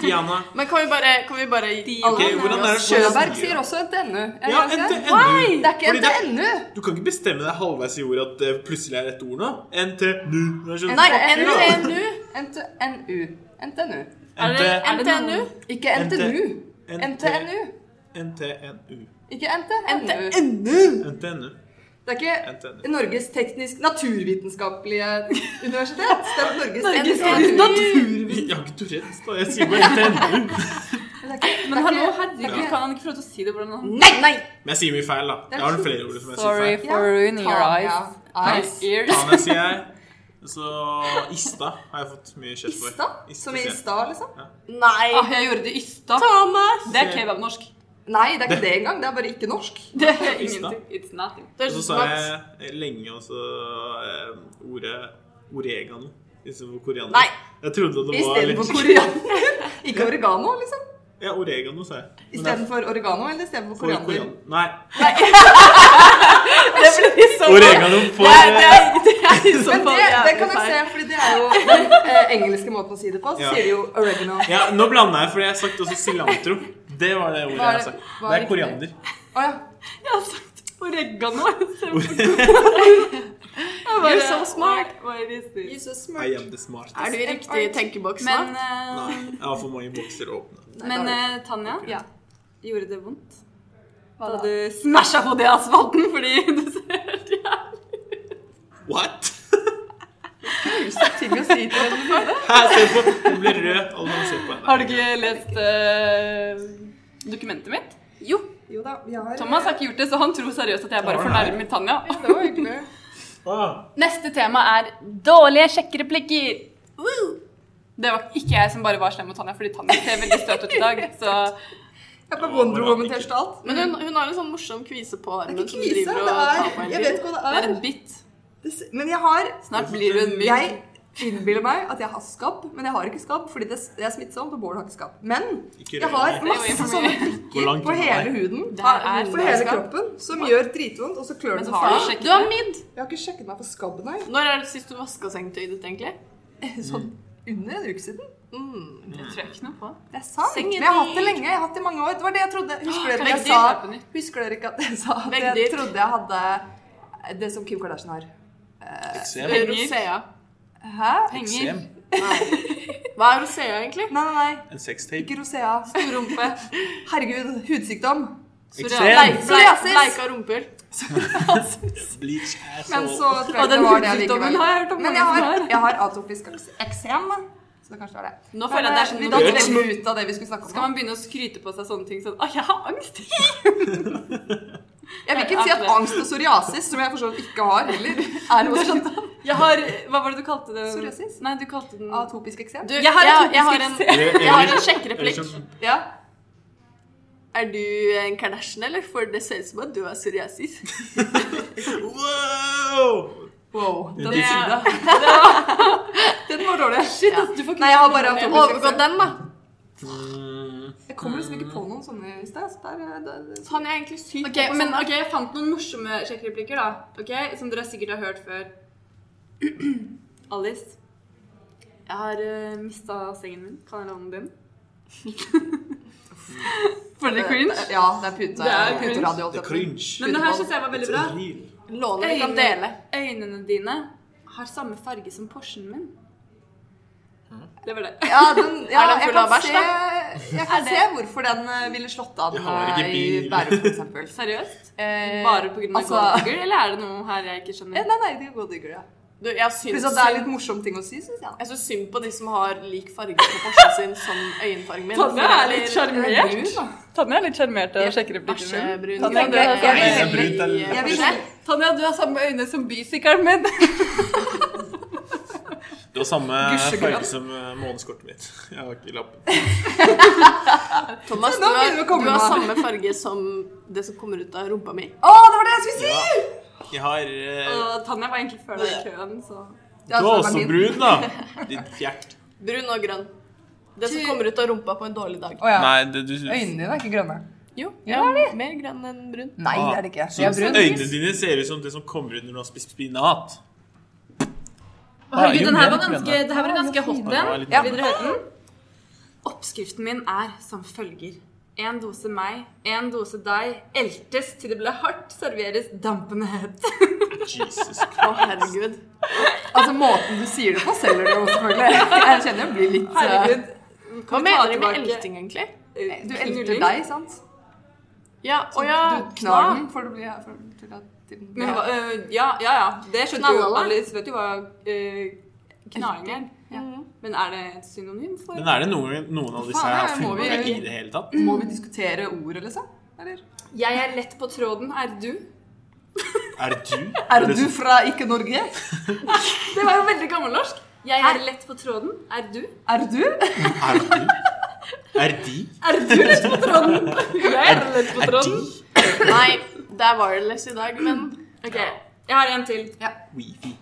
Speaker 2: Tiana.
Speaker 4: Men kan vi bare, kan vi bare
Speaker 2: Ok, hvordan er det folk sier
Speaker 3: Sjøberg sier
Speaker 2: det?
Speaker 3: også NTNU. Er
Speaker 2: Ja,
Speaker 3: det ikke det?
Speaker 2: NTNU.
Speaker 3: Det er ikke
Speaker 2: Fordi det er-
Speaker 3: NTNU.
Speaker 2: Du kan ikke bestemme deg halvveis i ordet at det plutselig er et ord nå. NTNU. Nå skjønner
Speaker 4: Nei,
Speaker 2: du.
Speaker 4: NTNU.
Speaker 3: NTNU. NTNU.
Speaker 1: Er det, er det
Speaker 4: NTNU.
Speaker 1: noen
Speaker 3: Ikke NTNU. NTNU.
Speaker 2: NTNU.
Speaker 3: Ikke NTNU.
Speaker 4: NTNU.
Speaker 2: NTNU.
Speaker 3: Det er ikke
Speaker 2: NTNU.
Speaker 3: Norges teknisk naturvitenskapelige universitet. Det er Norges
Speaker 1: Norges
Speaker 3: NTNU.
Speaker 2: Jeg har ikke Tourettes, da. Jeg sier bare NTNU.
Speaker 3: Det er ikke-
Speaker 1: Men hallo,
Speaker 3: det er ikke-
Speaker 1: herregud, kan han ikke få lov til å si det hvordan han
Speaker 3: Nei, nei!
Speaker 2: Men jeg sier mye feil, da. Jeg har flere ord som jeg sier
Speaker 1: Sorry
Speaker 2: feil.
Speaker 1: for ruining your eyes.
Speaker 3: Tania.
Speaker 1: Eyes. Ears.
Speaker 2: Tana sier jeg. Så Ista har jeg fått mye kjeft for.
Speaker 3: Ista? Som i
Speaker 2: sier jeg.
Speaker 3: sta, liksom?
Speaker 4: Nei.
Speaker 1: Ah, jeg gjorde det i Ystad.
Speaker 4: Thomas!
Speaker 1: Det er kebabnorsk.
Speaker 3: Nei, det er ikke det engang. Det er bare ikke norsk.
Speaker 1: Det er
Speaker 2: Ystad.
Speaker 1: ingenting. It's nothing.
Speaker 2: Og
Speaker 4: Det er
Speaker 2: så
Speaker 4: sånn
Speaker 2: sa
Speaker 4: at
Speaker 2: jeg lenge også eh, ordet oregano istedenfor koriander.
Speaker 4: Nei.
Speaker 2: Jeg trodde det var
Speaker 3: Istedenfor koreaner. Ikke oregano, liksom.
Speaker 2: Ja, oregano, sa jeg. Men det er
Speaker 3: Istedenfor oregano eller istedenfor
Speaker 2: for
Speaker 3: koriander?
Speaker 2: korian- Nei.
Speaker 4: Det blir litt sånn
Speaker 2: Oregano for
Speaker 4: Det er- det er- det er i så
Speaker 3: Men
Speaker 4: fall
Speaker 3: det, det
Speaker 4: jævlig
Speaker 3: kan jeg
Speaker 4: feil.
Speaker 3: se, fordi det er jo den eh, engelske måten å si det på. Så
Speaker 2: Ja.
Speaker 3: sier de jo oregano.
Speaker 2: Ja, nå blanda jeg, for jeg har sagt også cilantro. Det var det ordet
Speaker 3: Var-
Speaker 2: jeg har sagt.
Speaker 3: var
Speaker 2: Det er
Speaker 3: riktig.
Speaker 2: koriander.
Speaker 3: Å ja.
Speaker 1: Jeg har sagt oregano.
Speaker 4: You're so smart.
Speaker 1: Hva er det?
Speaker 3: You're so smart.
Speaker 2: I am the smartest.
Speaker 4: Er du i riktig tenkeboks nå?
Speaker 1: Men, eh,
Speaker 2: Nei, jeg har for mange bokser åpne.
Speaker 1: men
Speaker 3: det
Speaker 1: eh, Tanja,
Speaker 3: Ja.
Speaker 1: gjorde det vondt? Da du smasha på det asfalten fordi du ser helt jævlig
Speaker 2: What?!
Speaker 3: Ting å si til hverandre.
Speaker 2: Her, se på! Hun blir rød. Alle kan se på henne.
Speaker 1: Har du ikke lest eh, dokumentet mitt? Jo.
Speaker 3: Jo da, vi har
Speaker 1: Thomas har ikke gjort det, så han tror seriøst at jeg bare
Speaker 2: Har han her?
Speaker 1: fornærmer Tanja.
Speaker 3: Det var hyggelig.
Speaker 2: Ah,
Speaker 1: Neste tema er dårlige sjekkereplikker. Det var ikke jeg som bare var slem mot Tanja, fordi Tanja ser veldig støt ut i dag. Så
Speaker 3: Jeg er på Wonder Woman-T-skjorte.
Speaker 4: Men hun, hun har en sånn morsom kvise på
Speaker 3: Det
Speaker 4: armen.
Speaker 3: er ikke
Speaker 4: som
Speaker 3: kvise.
Speaker 4: driver og
Speaker 3: Det
Speaker 4: tar
Speaker 3: er
Speaker 4: på hele
Speaker 3: Jeg
Speaker 4: tiden.
Speaker 3: vet ikke hva
Speaker 1: det
Speaker 3: det
Speaker 1: er
Speaker 3: er.
Speaker 1: en bit.
Speaker 3: Det s- Men jeg har
Speaker 1: Snart blir du en myk.
Speaker 3: Jeg innbiller meg at jeg har skabb, men jeg har ikke skabb fordi det, det er smittsomt, og Bård har ikke skabb. Men
Speaker 2: Ikke
Speaker 3: jeg har
Speaker 2: røy.
Speaker 3: masse sånne
Speaker 2: Hvor
Speaker 3: prikker
Speaker 2: langt
Speaker 3: på
Speaker 2: unna er
Speaker 3: hele huden, Ah,
Speaker 4: Der er
Speaker 3: på hele
Speaker 4: skabb.
Speaker 3: kroppen, som gjør dritvondt, og så klør
Speaker 1: Men
Speaker 3: den
Speaker 1: så
Speaker 3: hardt.
Speaker 1: faen.
Speaker 4: Du har midd.
Speaker 3: Jeg har ikke sjekket meg for skabb, nei.
Speaker 4: Når er det sist du vaska sengetøyet ditt, egentlig?
Speaker 3: Sånn under en uke siden.
Speaker 4: Mm.
Speaker 1: Det tror jeg ikke noe på.
Speaker 3: Det er sant. Men jeg har hatt det lenge. Jeg har hatt det i mange år. Det var det jeg trodde. Husker dere, jeg
Speaker 1: Veggdyr
Speaker 3: sa,
Speaker 1: er på nytt.
Speaker 3: husker dere ikke at jeg sa at jeg
Speaker 4: Veggdyr.
Speaker 3: trodde jeg hadde det som Kim Kardashian har?
Speaker 2: Eksem.
Speaker 4: Rosea.
Speaker 3: Hæ?
Speaker 1: Penger.
Speaker 2: Eksem.
Speaker 4: Hva er rosea, egentlig?
Speaker 3: Nei, nei, nei.
Speaker 2: En sextape.
Speaker 3: Ikke rosea. Storrumpe. Herregud, hudsykdom.
Speaker 4: Blei-
Speaker 2: Eksem.
Speaker 4: blei-
Speaker 3: Psoriasis.
Speaker 4: Bleika rumper.
Speaker 2: Bleach
Speaker 3: Men så
Speaker 2: asshole.
Speaker 3: tror jeg ikke det var det likevel. Men jeg har, jeg har atopisk eksem. Så det kanskje var det.
Speaker 1: Nå føler jeg det er sånn
Speaker 3: Vi
Speaker 1: når
Speaker 3: datt
Speaker 1: man-
Speaker 2: Eksem.
Speaker 3: veldig ut av det vi skulle snakke om.
Speaker 1: Skal man begynne å skryte på seg sånne ting sånn Å, jeg har angst!
Speaker 3: Jeg vil ikke si at angst og psoriasis, som jeg for så vidt ikke har heller, er noe sånt.
Speaker 1: Jeg har Hva var det du kalte det?
Speaker 3: Psoriasis?
Speaker 1: Nei, du kalte den
Speaker 3: Atopisk eksem.
Speaker 4: Du,
Speaker 1: Jeg har
Speaker 4: jeg,
Speaker 1: en
Speaker 4: jeg har en,
Speaker 1: typisk
Speaker 4: jeg har en sjekkereplikk.
Speaker 3: Ja.
Speaker 4: Er du en Kardashian, eller? For det ser ut som at du har psoriasis.
Speaker 2: Wow!
Speaker 3: Wow. Den,
Speaker 2: Det-
Speaker 3: den var dårlig.
Speaker 1: Shit, ass, du får
Speaker 3: Nei, jeg har bare
Speaker 1: noe
Speaker 3: atopisk
Speaker 4: Overgått
Speaker 3: eksem.
Speaker 4: den, da.
Speaker 2: Mm.
Speaker 3: Jeg kommer liksom ikke på noen sånne i sted. så der, eh, det- det-
Speaker 4: Han er egentlig syk.
Speaker 1: Ok, men ok, Jeg fant noen morsomme sjekkreplikker, da. Ok, Som dere sikkert har hørt før. Alice. Jeg har uh, mista sengen min. Kan jeg låne den? For det cringe?
Speaker 3: Ja, det er pute,
Speaker 1: Det er
Speaker 3: puteradio. holdt
Speaker 2: Det er
Speaker 3: jeg på å si.
Speaker 2: cringe.
Speaker 1: Men det her syns jeg var veldig bra.
Speaker 2: It's real.
Speaker 4: Lånet vi kan dele.
Speaker 1: Øynene, øynene dine har samme farge som Porschen min. Det var det.
Speaker 3: Ja, den, ja,
Speaker 4: Er den
Speaker 3: jeg
Speaker 4: full
Speaker 3: kan
Speaker 4: av bæsj,
Speaker 3: se,
Speaker 4: da?
Speaker 3: jeg kan se hvorfor den eh, ville slått an
Speaker 2: Jeg har ikke
Speaker 3: eh, i
Speaker 2: bil.
Speaker 3: Bærum, for eksempel.
Speaker 1: Seriøst?
Speaker 3: Eh,
Speaker 1: Bare pga.
Speaker 3: altså-
Speaker 1: Altså, Golddigger, eller er det noe her jeg ikke
Speaker 3: Eh,
Speaker 1: skjønner?
Speaker 3: Nei, nei, det er goddigger, ja.
Speaker 4: Du, jeg syns
Speaker 3: Pluss at det er litt morsom ting å si, syns jeg. da.
Speaker 4: Jeg syns synd på de som har lik farge på korset sin som øyenfargen min.
Speaker 1: Tanne er litt
Speaker 3: Det er brun,
Speaker 1: sjarmert.
Speaker 3: da.
Speaker 1: Tanje er litt sjarmert av
Speaker 4: Bæsjebrun.
Speaker 1: Da tenker jeg-
Speaker 4: Jeg vil
Speaker 2: Jeg vil-
Speaker 4: heller i-
Speaker 3: Jeg vil-
Speaker 1: Tanja, du har samme øyne som bysykkelen min.
Speaker 2: Du har samme
Speaker 3: Gusjegrønn.
Speaker 2: farge som eh, måneskortet mitt. Jeg har ikke lapp.
Speaker 4: Thomas, du
Speaker 3: Nå begynner vi å
Speaker 4: har,
Speaker 3: komme
Speaker 4: du har
Speaker 3: med.
Speaker 4: samme farge som det som kommer ut av rumpa mi.
Speaker 3: Å, det var det jeg skulle si!
Speaker 2: Ja. Jeg har eh,
Speaker 1: Og Tanja var egentlig før deg i køen, så
Speaker 2: Du er også brun, da. Ditt fjert.
Speaker 4: Brun og grønn. Det som kommer ut av rumpa på en dårlig dag.
Speaker 3: Å ja.
Speaker 2: Nei, det, du
Speaker 3: Øynene dine er ikke grønne.
Speaker 4: Jo, jeg er mer grønn enn brun.
Speaker 3: Nei, det er det ikke. Jeg
Speaker 2: Ah. Så
Speaker 3: er brun.
Speaker 2: Øynene dine ser ut som det som kommer ut når du har spist spinat.
Speaker 1: Herregud, den her var ganske, det her var en ganske hot
Speaker 2: Ja,
Speaker 1: en.
Speaker 2: litt
Speaker 3: Ja.
Speaker 1: Vil dere høre den? Oppskriften min er som følger. En dose meg, en dose deg, eltes til det ble hardt, serveres dampende hett.
Speaker 2: Jesus
Speaker 4: Å, herregud.
Speaker 3: Altså, måten du sier det på, selger det jo selvfølgelig. Jeg kjenner jeg blir litt eh,
Speaker 1: Herregud.
Speaker 4: Hva
Speaker 1: vi ta
Speaker 4: mener de med
Speaker 1: tilbake- Eh,
Speaker 4: elting, egentlig?
Speaker 3: Du
Speaker 1: Knulling.
Speaker 3: elter deg, sant?
Speaker 4: Ja, å ja,
Speaker 3: Du knar den for du blir for, til at til den
Speaker 1: Men, hva- øh, ja, ja, ja. Det skjønte jo
Speaker 4: Knallhalla.
Speaker 1: Alice. Vet jo hva øh, knaring er. Men er det et synonym for
Speaker 2: Men er det noen, noen av disse
Speaker 3: Faen,
Speaker 2: her har
Speaker 3: her må
Speaker 2: funnet
Speaker 3: vi-
Speaker 2: i det hele tatt?
Speaker 3: Må vi diskutere ordet, liksom? Eller?
Speaker 1: Jeg er lett på tråden, er du?
Speaker 2: Er det du?
Speaker 3: Er du fra ikke-Norge?
Speaker 1: Det var jo veldig gammelnorsk. Jeg er lett på tråden, er du?
Speaker 3: Er du?
Speaker 2: Er du? Er de?
Speaker 1: Er du lett på tråden? Jeg er lett på
Speaker 2: Er de?
Speaker 1: tråden.
Speaker 4: Nei, det er wireless i dag, men
Speaker 1: Ok, jeg har en til.
Speaker 2: Wifi.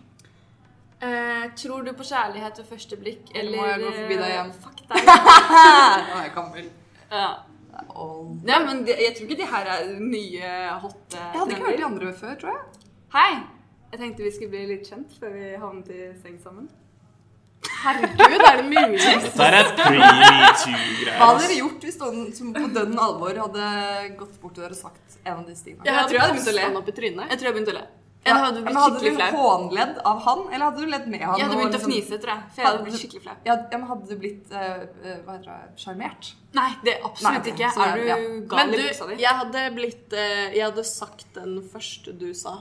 Speaker 1: Eh, tror du på kjærlighet ved første blikk, eller
Speaker 3: må jeg gå forbi deg igjen?
Speaker 1: eh, Fuck deg.
Speaker 3: Nå er jeg gammel.
Speaker 1: Ja.
Speaker 3: Jeg
Speaker 1: Nei, men de, jeg tror ikke de her er nye hot eh,
Speaker 3: hadde ikke
Speaker 1: trender.
Speaker 3: hørt de andre før, tror jeg.
Speaker 1: Hei! Jeg tenkte vi skulle bli litt kjent før vi havnet i seng sammen.
Speaker 4: herregud, er det mulig?
Speaker 2: Dette er et pre-metoo-greier.
Speaker 3: Hva hadde
Speaker 2: ass.
Speaker 3: dere gjort hvis noen som på dønn alvor hadde gått bort til dere og sagt en av disse tingene?
Speaker 1: Jeg tror jeg hadde begynt å le.
Speaker 4: kastet han opp i trynet.
Speaker 1: Jeg tror jeg begynte å le.
Speaker 4: Jeg
Speaker 3: Ja,
Speaker 4: hadde
Speaker 3: men
Speaker 4: blitt
Speaker 3: hadde
Speaker 4: skikkelig
Speaker 3: du
Speaker 4: flau.
Speaker 3: hånledd av han, eller hadde du ledd med han?
Speaker 1: Jeg hadde
Speaker 3: og
Speaker 1: begynt å
Speaker 3: liksom-
Speaker 1: fnise, tror jeg. For jeg hadde blitt skikkelig flau.
Speaker 3: Ja, ja, men hadde du blitt eh, eh, hva heter det, sjarmert?
Speaker 1: Nei, det er absolutt
Speaker 3: Nei, ok,
Speaker 1: ikke.
Speaker 3: så
Speaker 1: Er
Speaker 3: det-
Speaker 1: du
Speaker 3: ja.
Speaker 1: gal i
Speaker 4: Men du,
Speaker 1: buksa di?
Speaker 4: jeg hadde blitt eh, Jeg hadde sagt den første du sa.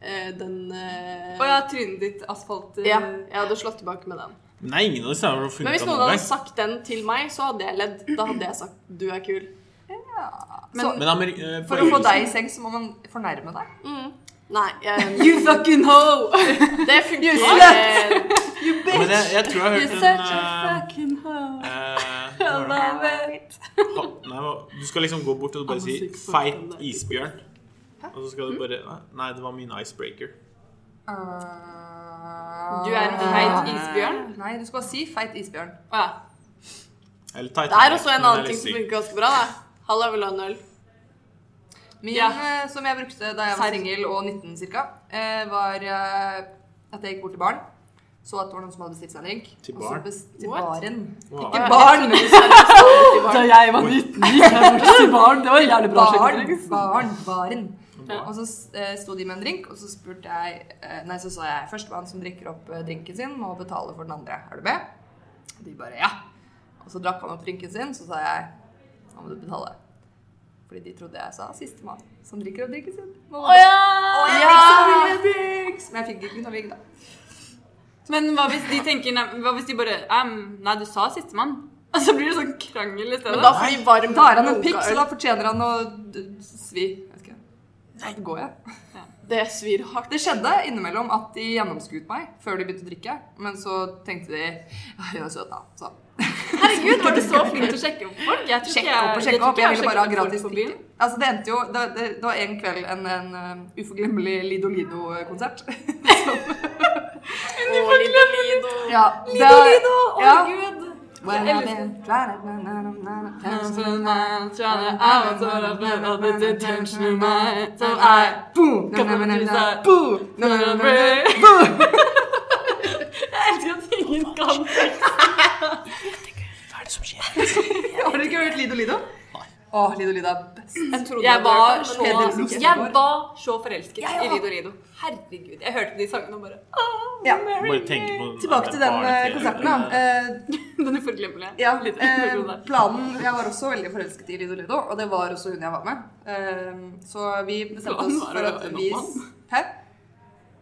Speaker 4: Eh, Den eh,
Speaker 1: Å ja, trynet ditt asfalt eh,
Speaker 4: ja, jeg hadde slått tilbake med den.
Speaker 2: Nei, ingen av disse her har
Speaker 4: Men
Speaker 2: funnet
Speaker 4: hvis
Speaker 2: av
Speaker 4: noen
Speaker 2: noen
Speaker 4: hadde
Speaker 2: gang.
Speaker 4: sagt den til meg, så hadde jeg ledd. Da hadde jeg sagt 'du er kul'.
Speaker 3: Men
Speaker 2: Men Ameri- eh,
Speaker 3: for å få
Speaker 2: på-
Speaker 3: deg i seng, så må man fornærme deg.
Speaker 4: Nei, jeg,
Speaker 1: You fucking hoe!
Speaker 4: det funker
Speaker 3: slut!
Speaker 4: ikke.
Speaker 2: Ja, Men jeg, jeg tror jeg har
Speaker 1: You're
Speaker 2: hørt
Speaker 1: such a
Speaker 2: en
Speaker 1: fucking hoe.
Speaker 2: eh, eh, hva var det?
Speaker 1: Love it.
Speaker 2: Ha- Nei, hva- du skal liksom gå bort og bare si
Speaker 4: syk for
Speaker 2: 'feit
Speaker 4: den der.
Speaker 2: isbjørn'. Og så skal du bare Nei, det var min icebreaker.
Speaker 3: Eh,
Speaker 4: Du er en feit isbjørn.
Speaker 3: Nei, du skal si feit isbjørn.
Speaker 4: Å ja.
Speaker 2: Eller Titanic.
Speaker 4: Det er også en
Speaker 2: men
Speaker 4: annen
Speaker 2: det er
Speaker 4: ting
Speaker 2: litt
Speaker 4: som
Speaker 2: sykt.
Speaker 4: funker ganske bra. da. Halla, vil du ha en øl?
Speaker 3: Min,
Speaker 4: Ja.
Speaker 3: eh, som jeg brukte da jeg var
Speaker 4: Serr.
Speaker 3: singel og 19 ca., var eh, at jeg gikk bort til baren. Så at det var noen som hadde bestilt seg en drink.
Speaker 2: Til
Speaker 3: og så
Speaker 2: barn?
Speaker 3: best- Til
Speaker 4: What?
Speaker 3: baren.
Speaker 2: Wow.
Speaker 4: Ja.
Speaker 3: Ikke barn, men
Speaker 8: Da jeg var 19, gikk jeg bort til barn. Det var jævlig bra.
Speaker 3: barn.
Speaker 8: sjekketriks.
Speaker 3: Barn. Baren.
Speaker 2: Ja.
Speaker 3: Og så eh, sto de med en drink, og så spurte jeg eh, Nei, så sa jeg førstemann som drikker opp eh, drinken sin, må betale for den andre. Er du med? Og de bare ja. Og så drakk han opp drinken sin, så sa jeg nå må du betale. Fordi de trodde jeg sa sistemann som drikker opp drinken sin. Å Og jeg fikk så mye drinks! Men jeg fikk ikke noe ligg, da.
Speaker 1: Men hva hvis de tenker Nei, hva hvis de bare «Em, Nei, du sa sistemann. Og så blir det sånn krangel i
Speaker 4: Men
Speaker 1: stedet.
Speaker 4: da får vi varm
Speaker 3: Da er han en pikk, så
Speaker 4: lunkaøl.
Speaker 3: da fortjener han å d- svi. Jeg vet ikke. Nei, går jeg.
Speaker 4: Det svir hardt.
Speaker 3: Det skjedde innimellom at de gjennomskuet meg før de begynte å drikke. Men så tenkte de ja, hun er søt, da. Så
Speaker 1: Herregud, var du så flink til å sjekke opp folk? Jeg tror
Speaker 3: sjekk
Speaker 1: ikke jeg-
Speaker 3: opp og
Speaker 1: jeg
Speaker 3: sjekk
Speaker 1: tror
Speaker 3: opp.
Speaker 1: ikke
Speaker 3: Jeg
Speaker 1: har
Speaker 3: ville bare ha
Speaker 1: sjekket opp
Speaker 3: gratis
Speaker 1: folk på byen.
Speaker 3: drikke. Altså, det endte jo Det, det, det var en kveld en, en um, uforglemmelig Lido eh, Lido-konsert.
Speaker 4: Og Lido Lido.
Speaker 3: ja,
Speaker 1: Lido, Lido, å
Speaker 3: Ja.
Speaker 1: gud.
Speaker 3: When I've been trying to-
Speaker 1: altså
Speaker 3: Boom! Boom!
Speaker 1: Jeg elsker at ingen kan
Speaker 3: Har dere ikke hørt Lido Lido? Åh, Lido Lido er best.
Speaker 4: Jeg trodde
Speaker 1: Jeg
Speaker 4: det
Speaker 1: var
Speaker 4: men
Speaker 1: så,
Speaker 4: det er sikkert.
Speaker 1: jeg var så forelsket
Speaker 3: Ja, ja.
Speaker 1: i Lido Lido. Herregud. Jeg hørte de sangene og bare
Speaker 3: Ja.
Speaker 2: Bare tenke på den
Speaker 3: Tilbake
Speaker 2: der
Speaker 3: til den eh,
Speaker 2: barne-tv-en.
Speaker 3: konserten, da. Eh,
Speaker 1: Den uforglemmelige.
Speaker 3: Ja,
Speaker 1: Lido
Speaker 3: eh,
Speaker 1: Lido der.
Speaker 3: planen Jeg var også veldig forelsket i Lido Lido, og det var også hun jeg var med. Eh, Så vi bestemte
Speaker 1: Planen
Speaker 3: oss
Speaker 1: var
Speaker 3: for
Speaker 1: å
Speaker 3: at
Speaker 1: være
Speaker 3: vi
Speaker 1: nordmann.
Speaker 3: Hæ?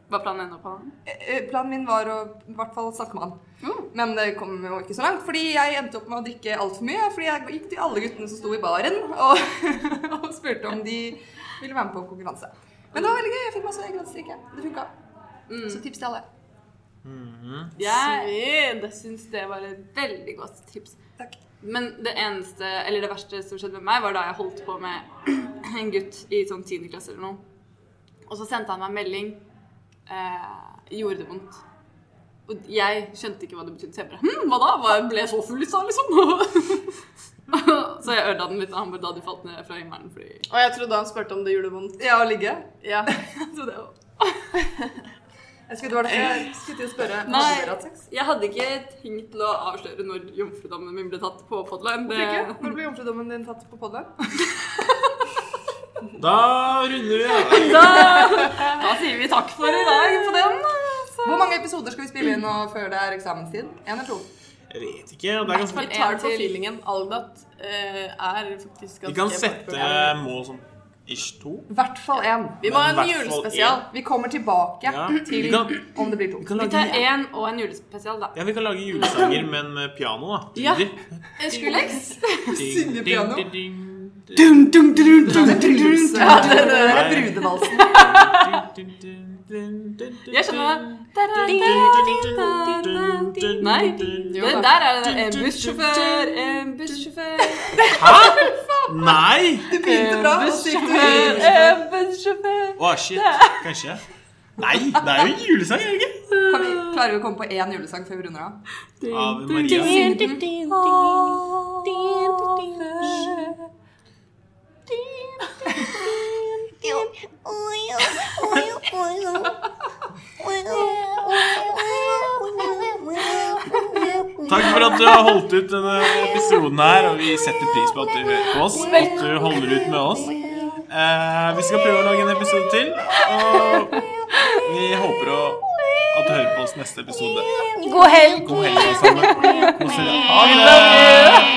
Speaker 1: Hva planen enda på?
Speaker 3: Eh, Planen min var å i hvert fall snakke med
Speaker 1: Mm.
Speaker 3: han. Men det kom jo ikke så langt, fordi jeg endte opp med å drikke altfor mye. Fordi jeg gikk til alle guttene som sto i baren og, og spurte om de ville være med på konkurranse. Men det var veldig gøy. Jeg fikk masse gratis drikke. Det funka.
Speaker 1: Mm.
Speaker 3: Så tips til alle.
Speaker 1: Jeg
Speaker 4: Svir. Det syns
Speaker 1: syns det var et veldig godt tips.
Speaker 3: Takk.
Speaker 1: Men det eneste, eller det verste som skjedde med meg, var da jeg holdt på med en gutt i sånn 10. klasse eller noe. Og så sendte han meg en melding. Eh, gjorde det vondt. Og jeg skjønte ikke hva det betydde. Så jeg bare Hm, hva da? Hva, jeg ble så full, sa liksom. så jeg ødela den litt, og han bare da du falt ned fra himmelen fordi
Speaker 4: Og jeg trodde han spurte om det gjorde vondt.
Speaker 3: Ja, å ligge.
Speaker 4: Ja.
Speaker 1: Så det var
Speaker 3: Jeg skulle, det var det jeg skulle til å spørre.
Speaker 1: Nei.
Speaker 3: Har dere hatt sex?
Speaker 1: Jeg hadde ikke tenkt til å avsløre når jomfrudommen min ble tatt på podline.
Speaker 3: Hvorfor ikke? Når ble jomfrudommen din tatt på podden?
Speaker 2: Da runder vi av.
Speaker 1: Da sier vi takk for i dag på den. altså.
Speaker 3: Hvor mange episoder skal vi spille inn nå før det er eksamenstid? Én eller to?
Speaker 2: Jeg vet ikke. Det er ganske
Speaker 4: Vi tar det på
Speaker 1: til.
Speaker 4: feelingen. Aldat eh, er faktisk
Speaker 2: Vi kan
Speaker 4: ganske
Speaker 2: sette
Speaker 4: populært.
Speaker 2: mål som ish to.
Speaker 3: I hvert fall én.
Speaker 4: Vi må ha
Speaker 2: Men i hvert
Speaker 4: en
Speaker 2: fall
Speaker 4: julespesial.
Speaker 3: Vi kommer tilbake
Speaker 2: Ja. Vi
Speaker 3: til
Speaker 2: kan,
Speaker 3: om det blir to.
Speaker 2: vi kan
Speaker 1: Vi
Speaker 2: lage
Speaker 1: tar én og en julespesial, da.
Speaker 2: ja, vi kan lage julesanger, men med piano, da.
Speaker 4: Ja.
Speaker 2: Lyder.
Speaker 1: Skrullex.
Speaker 2: Ding,
Speaker 3: Synge
Speaker 2: ding,
Speaker 3: piano.
Speaker 2: ding, ding, ding,
Speaker 3: Det er bruse. Ja, det det er
Speaker 2: Nei.
Speaker 3: brudevalsen.
Speaker 2: ding, ding, ding, ding, ding, ding,
Speaker 1: Jeg skjønner
Speaker 2: ding,
Speaker 1: det.
Speaker 2: ding, ding, ding, ding,
Speaker 1: Nei.
Speaker 2: ding, ding.
Speaker 1: Det der er det en bussjåfør, en bussjåfør,
Speaker 2: Hæ? Nei!
Speaker 3: Det begynte bra. og så gikk det videre.
Speaker 1: en bussjåfør.
Speaker 2: Å, shit. Kanskje. Nei, det er jo en julesang, er det ikke?
Speaker 3: Kan vi, klarer vi å komme på én julesang før vi runder av?
Speaker 2: Av Maria. Takk for at du har holdt ut denne episoden her, og vi setter pris på at du hører på oss. At du holder ut med oss. Eh, vi skal prøve å lage en episode til, og vi håper å, at du hører på oss neste episode.
Speaker 9: God helg!
Speaker 2: God helg, alle sammen. Kos dere. Ha det!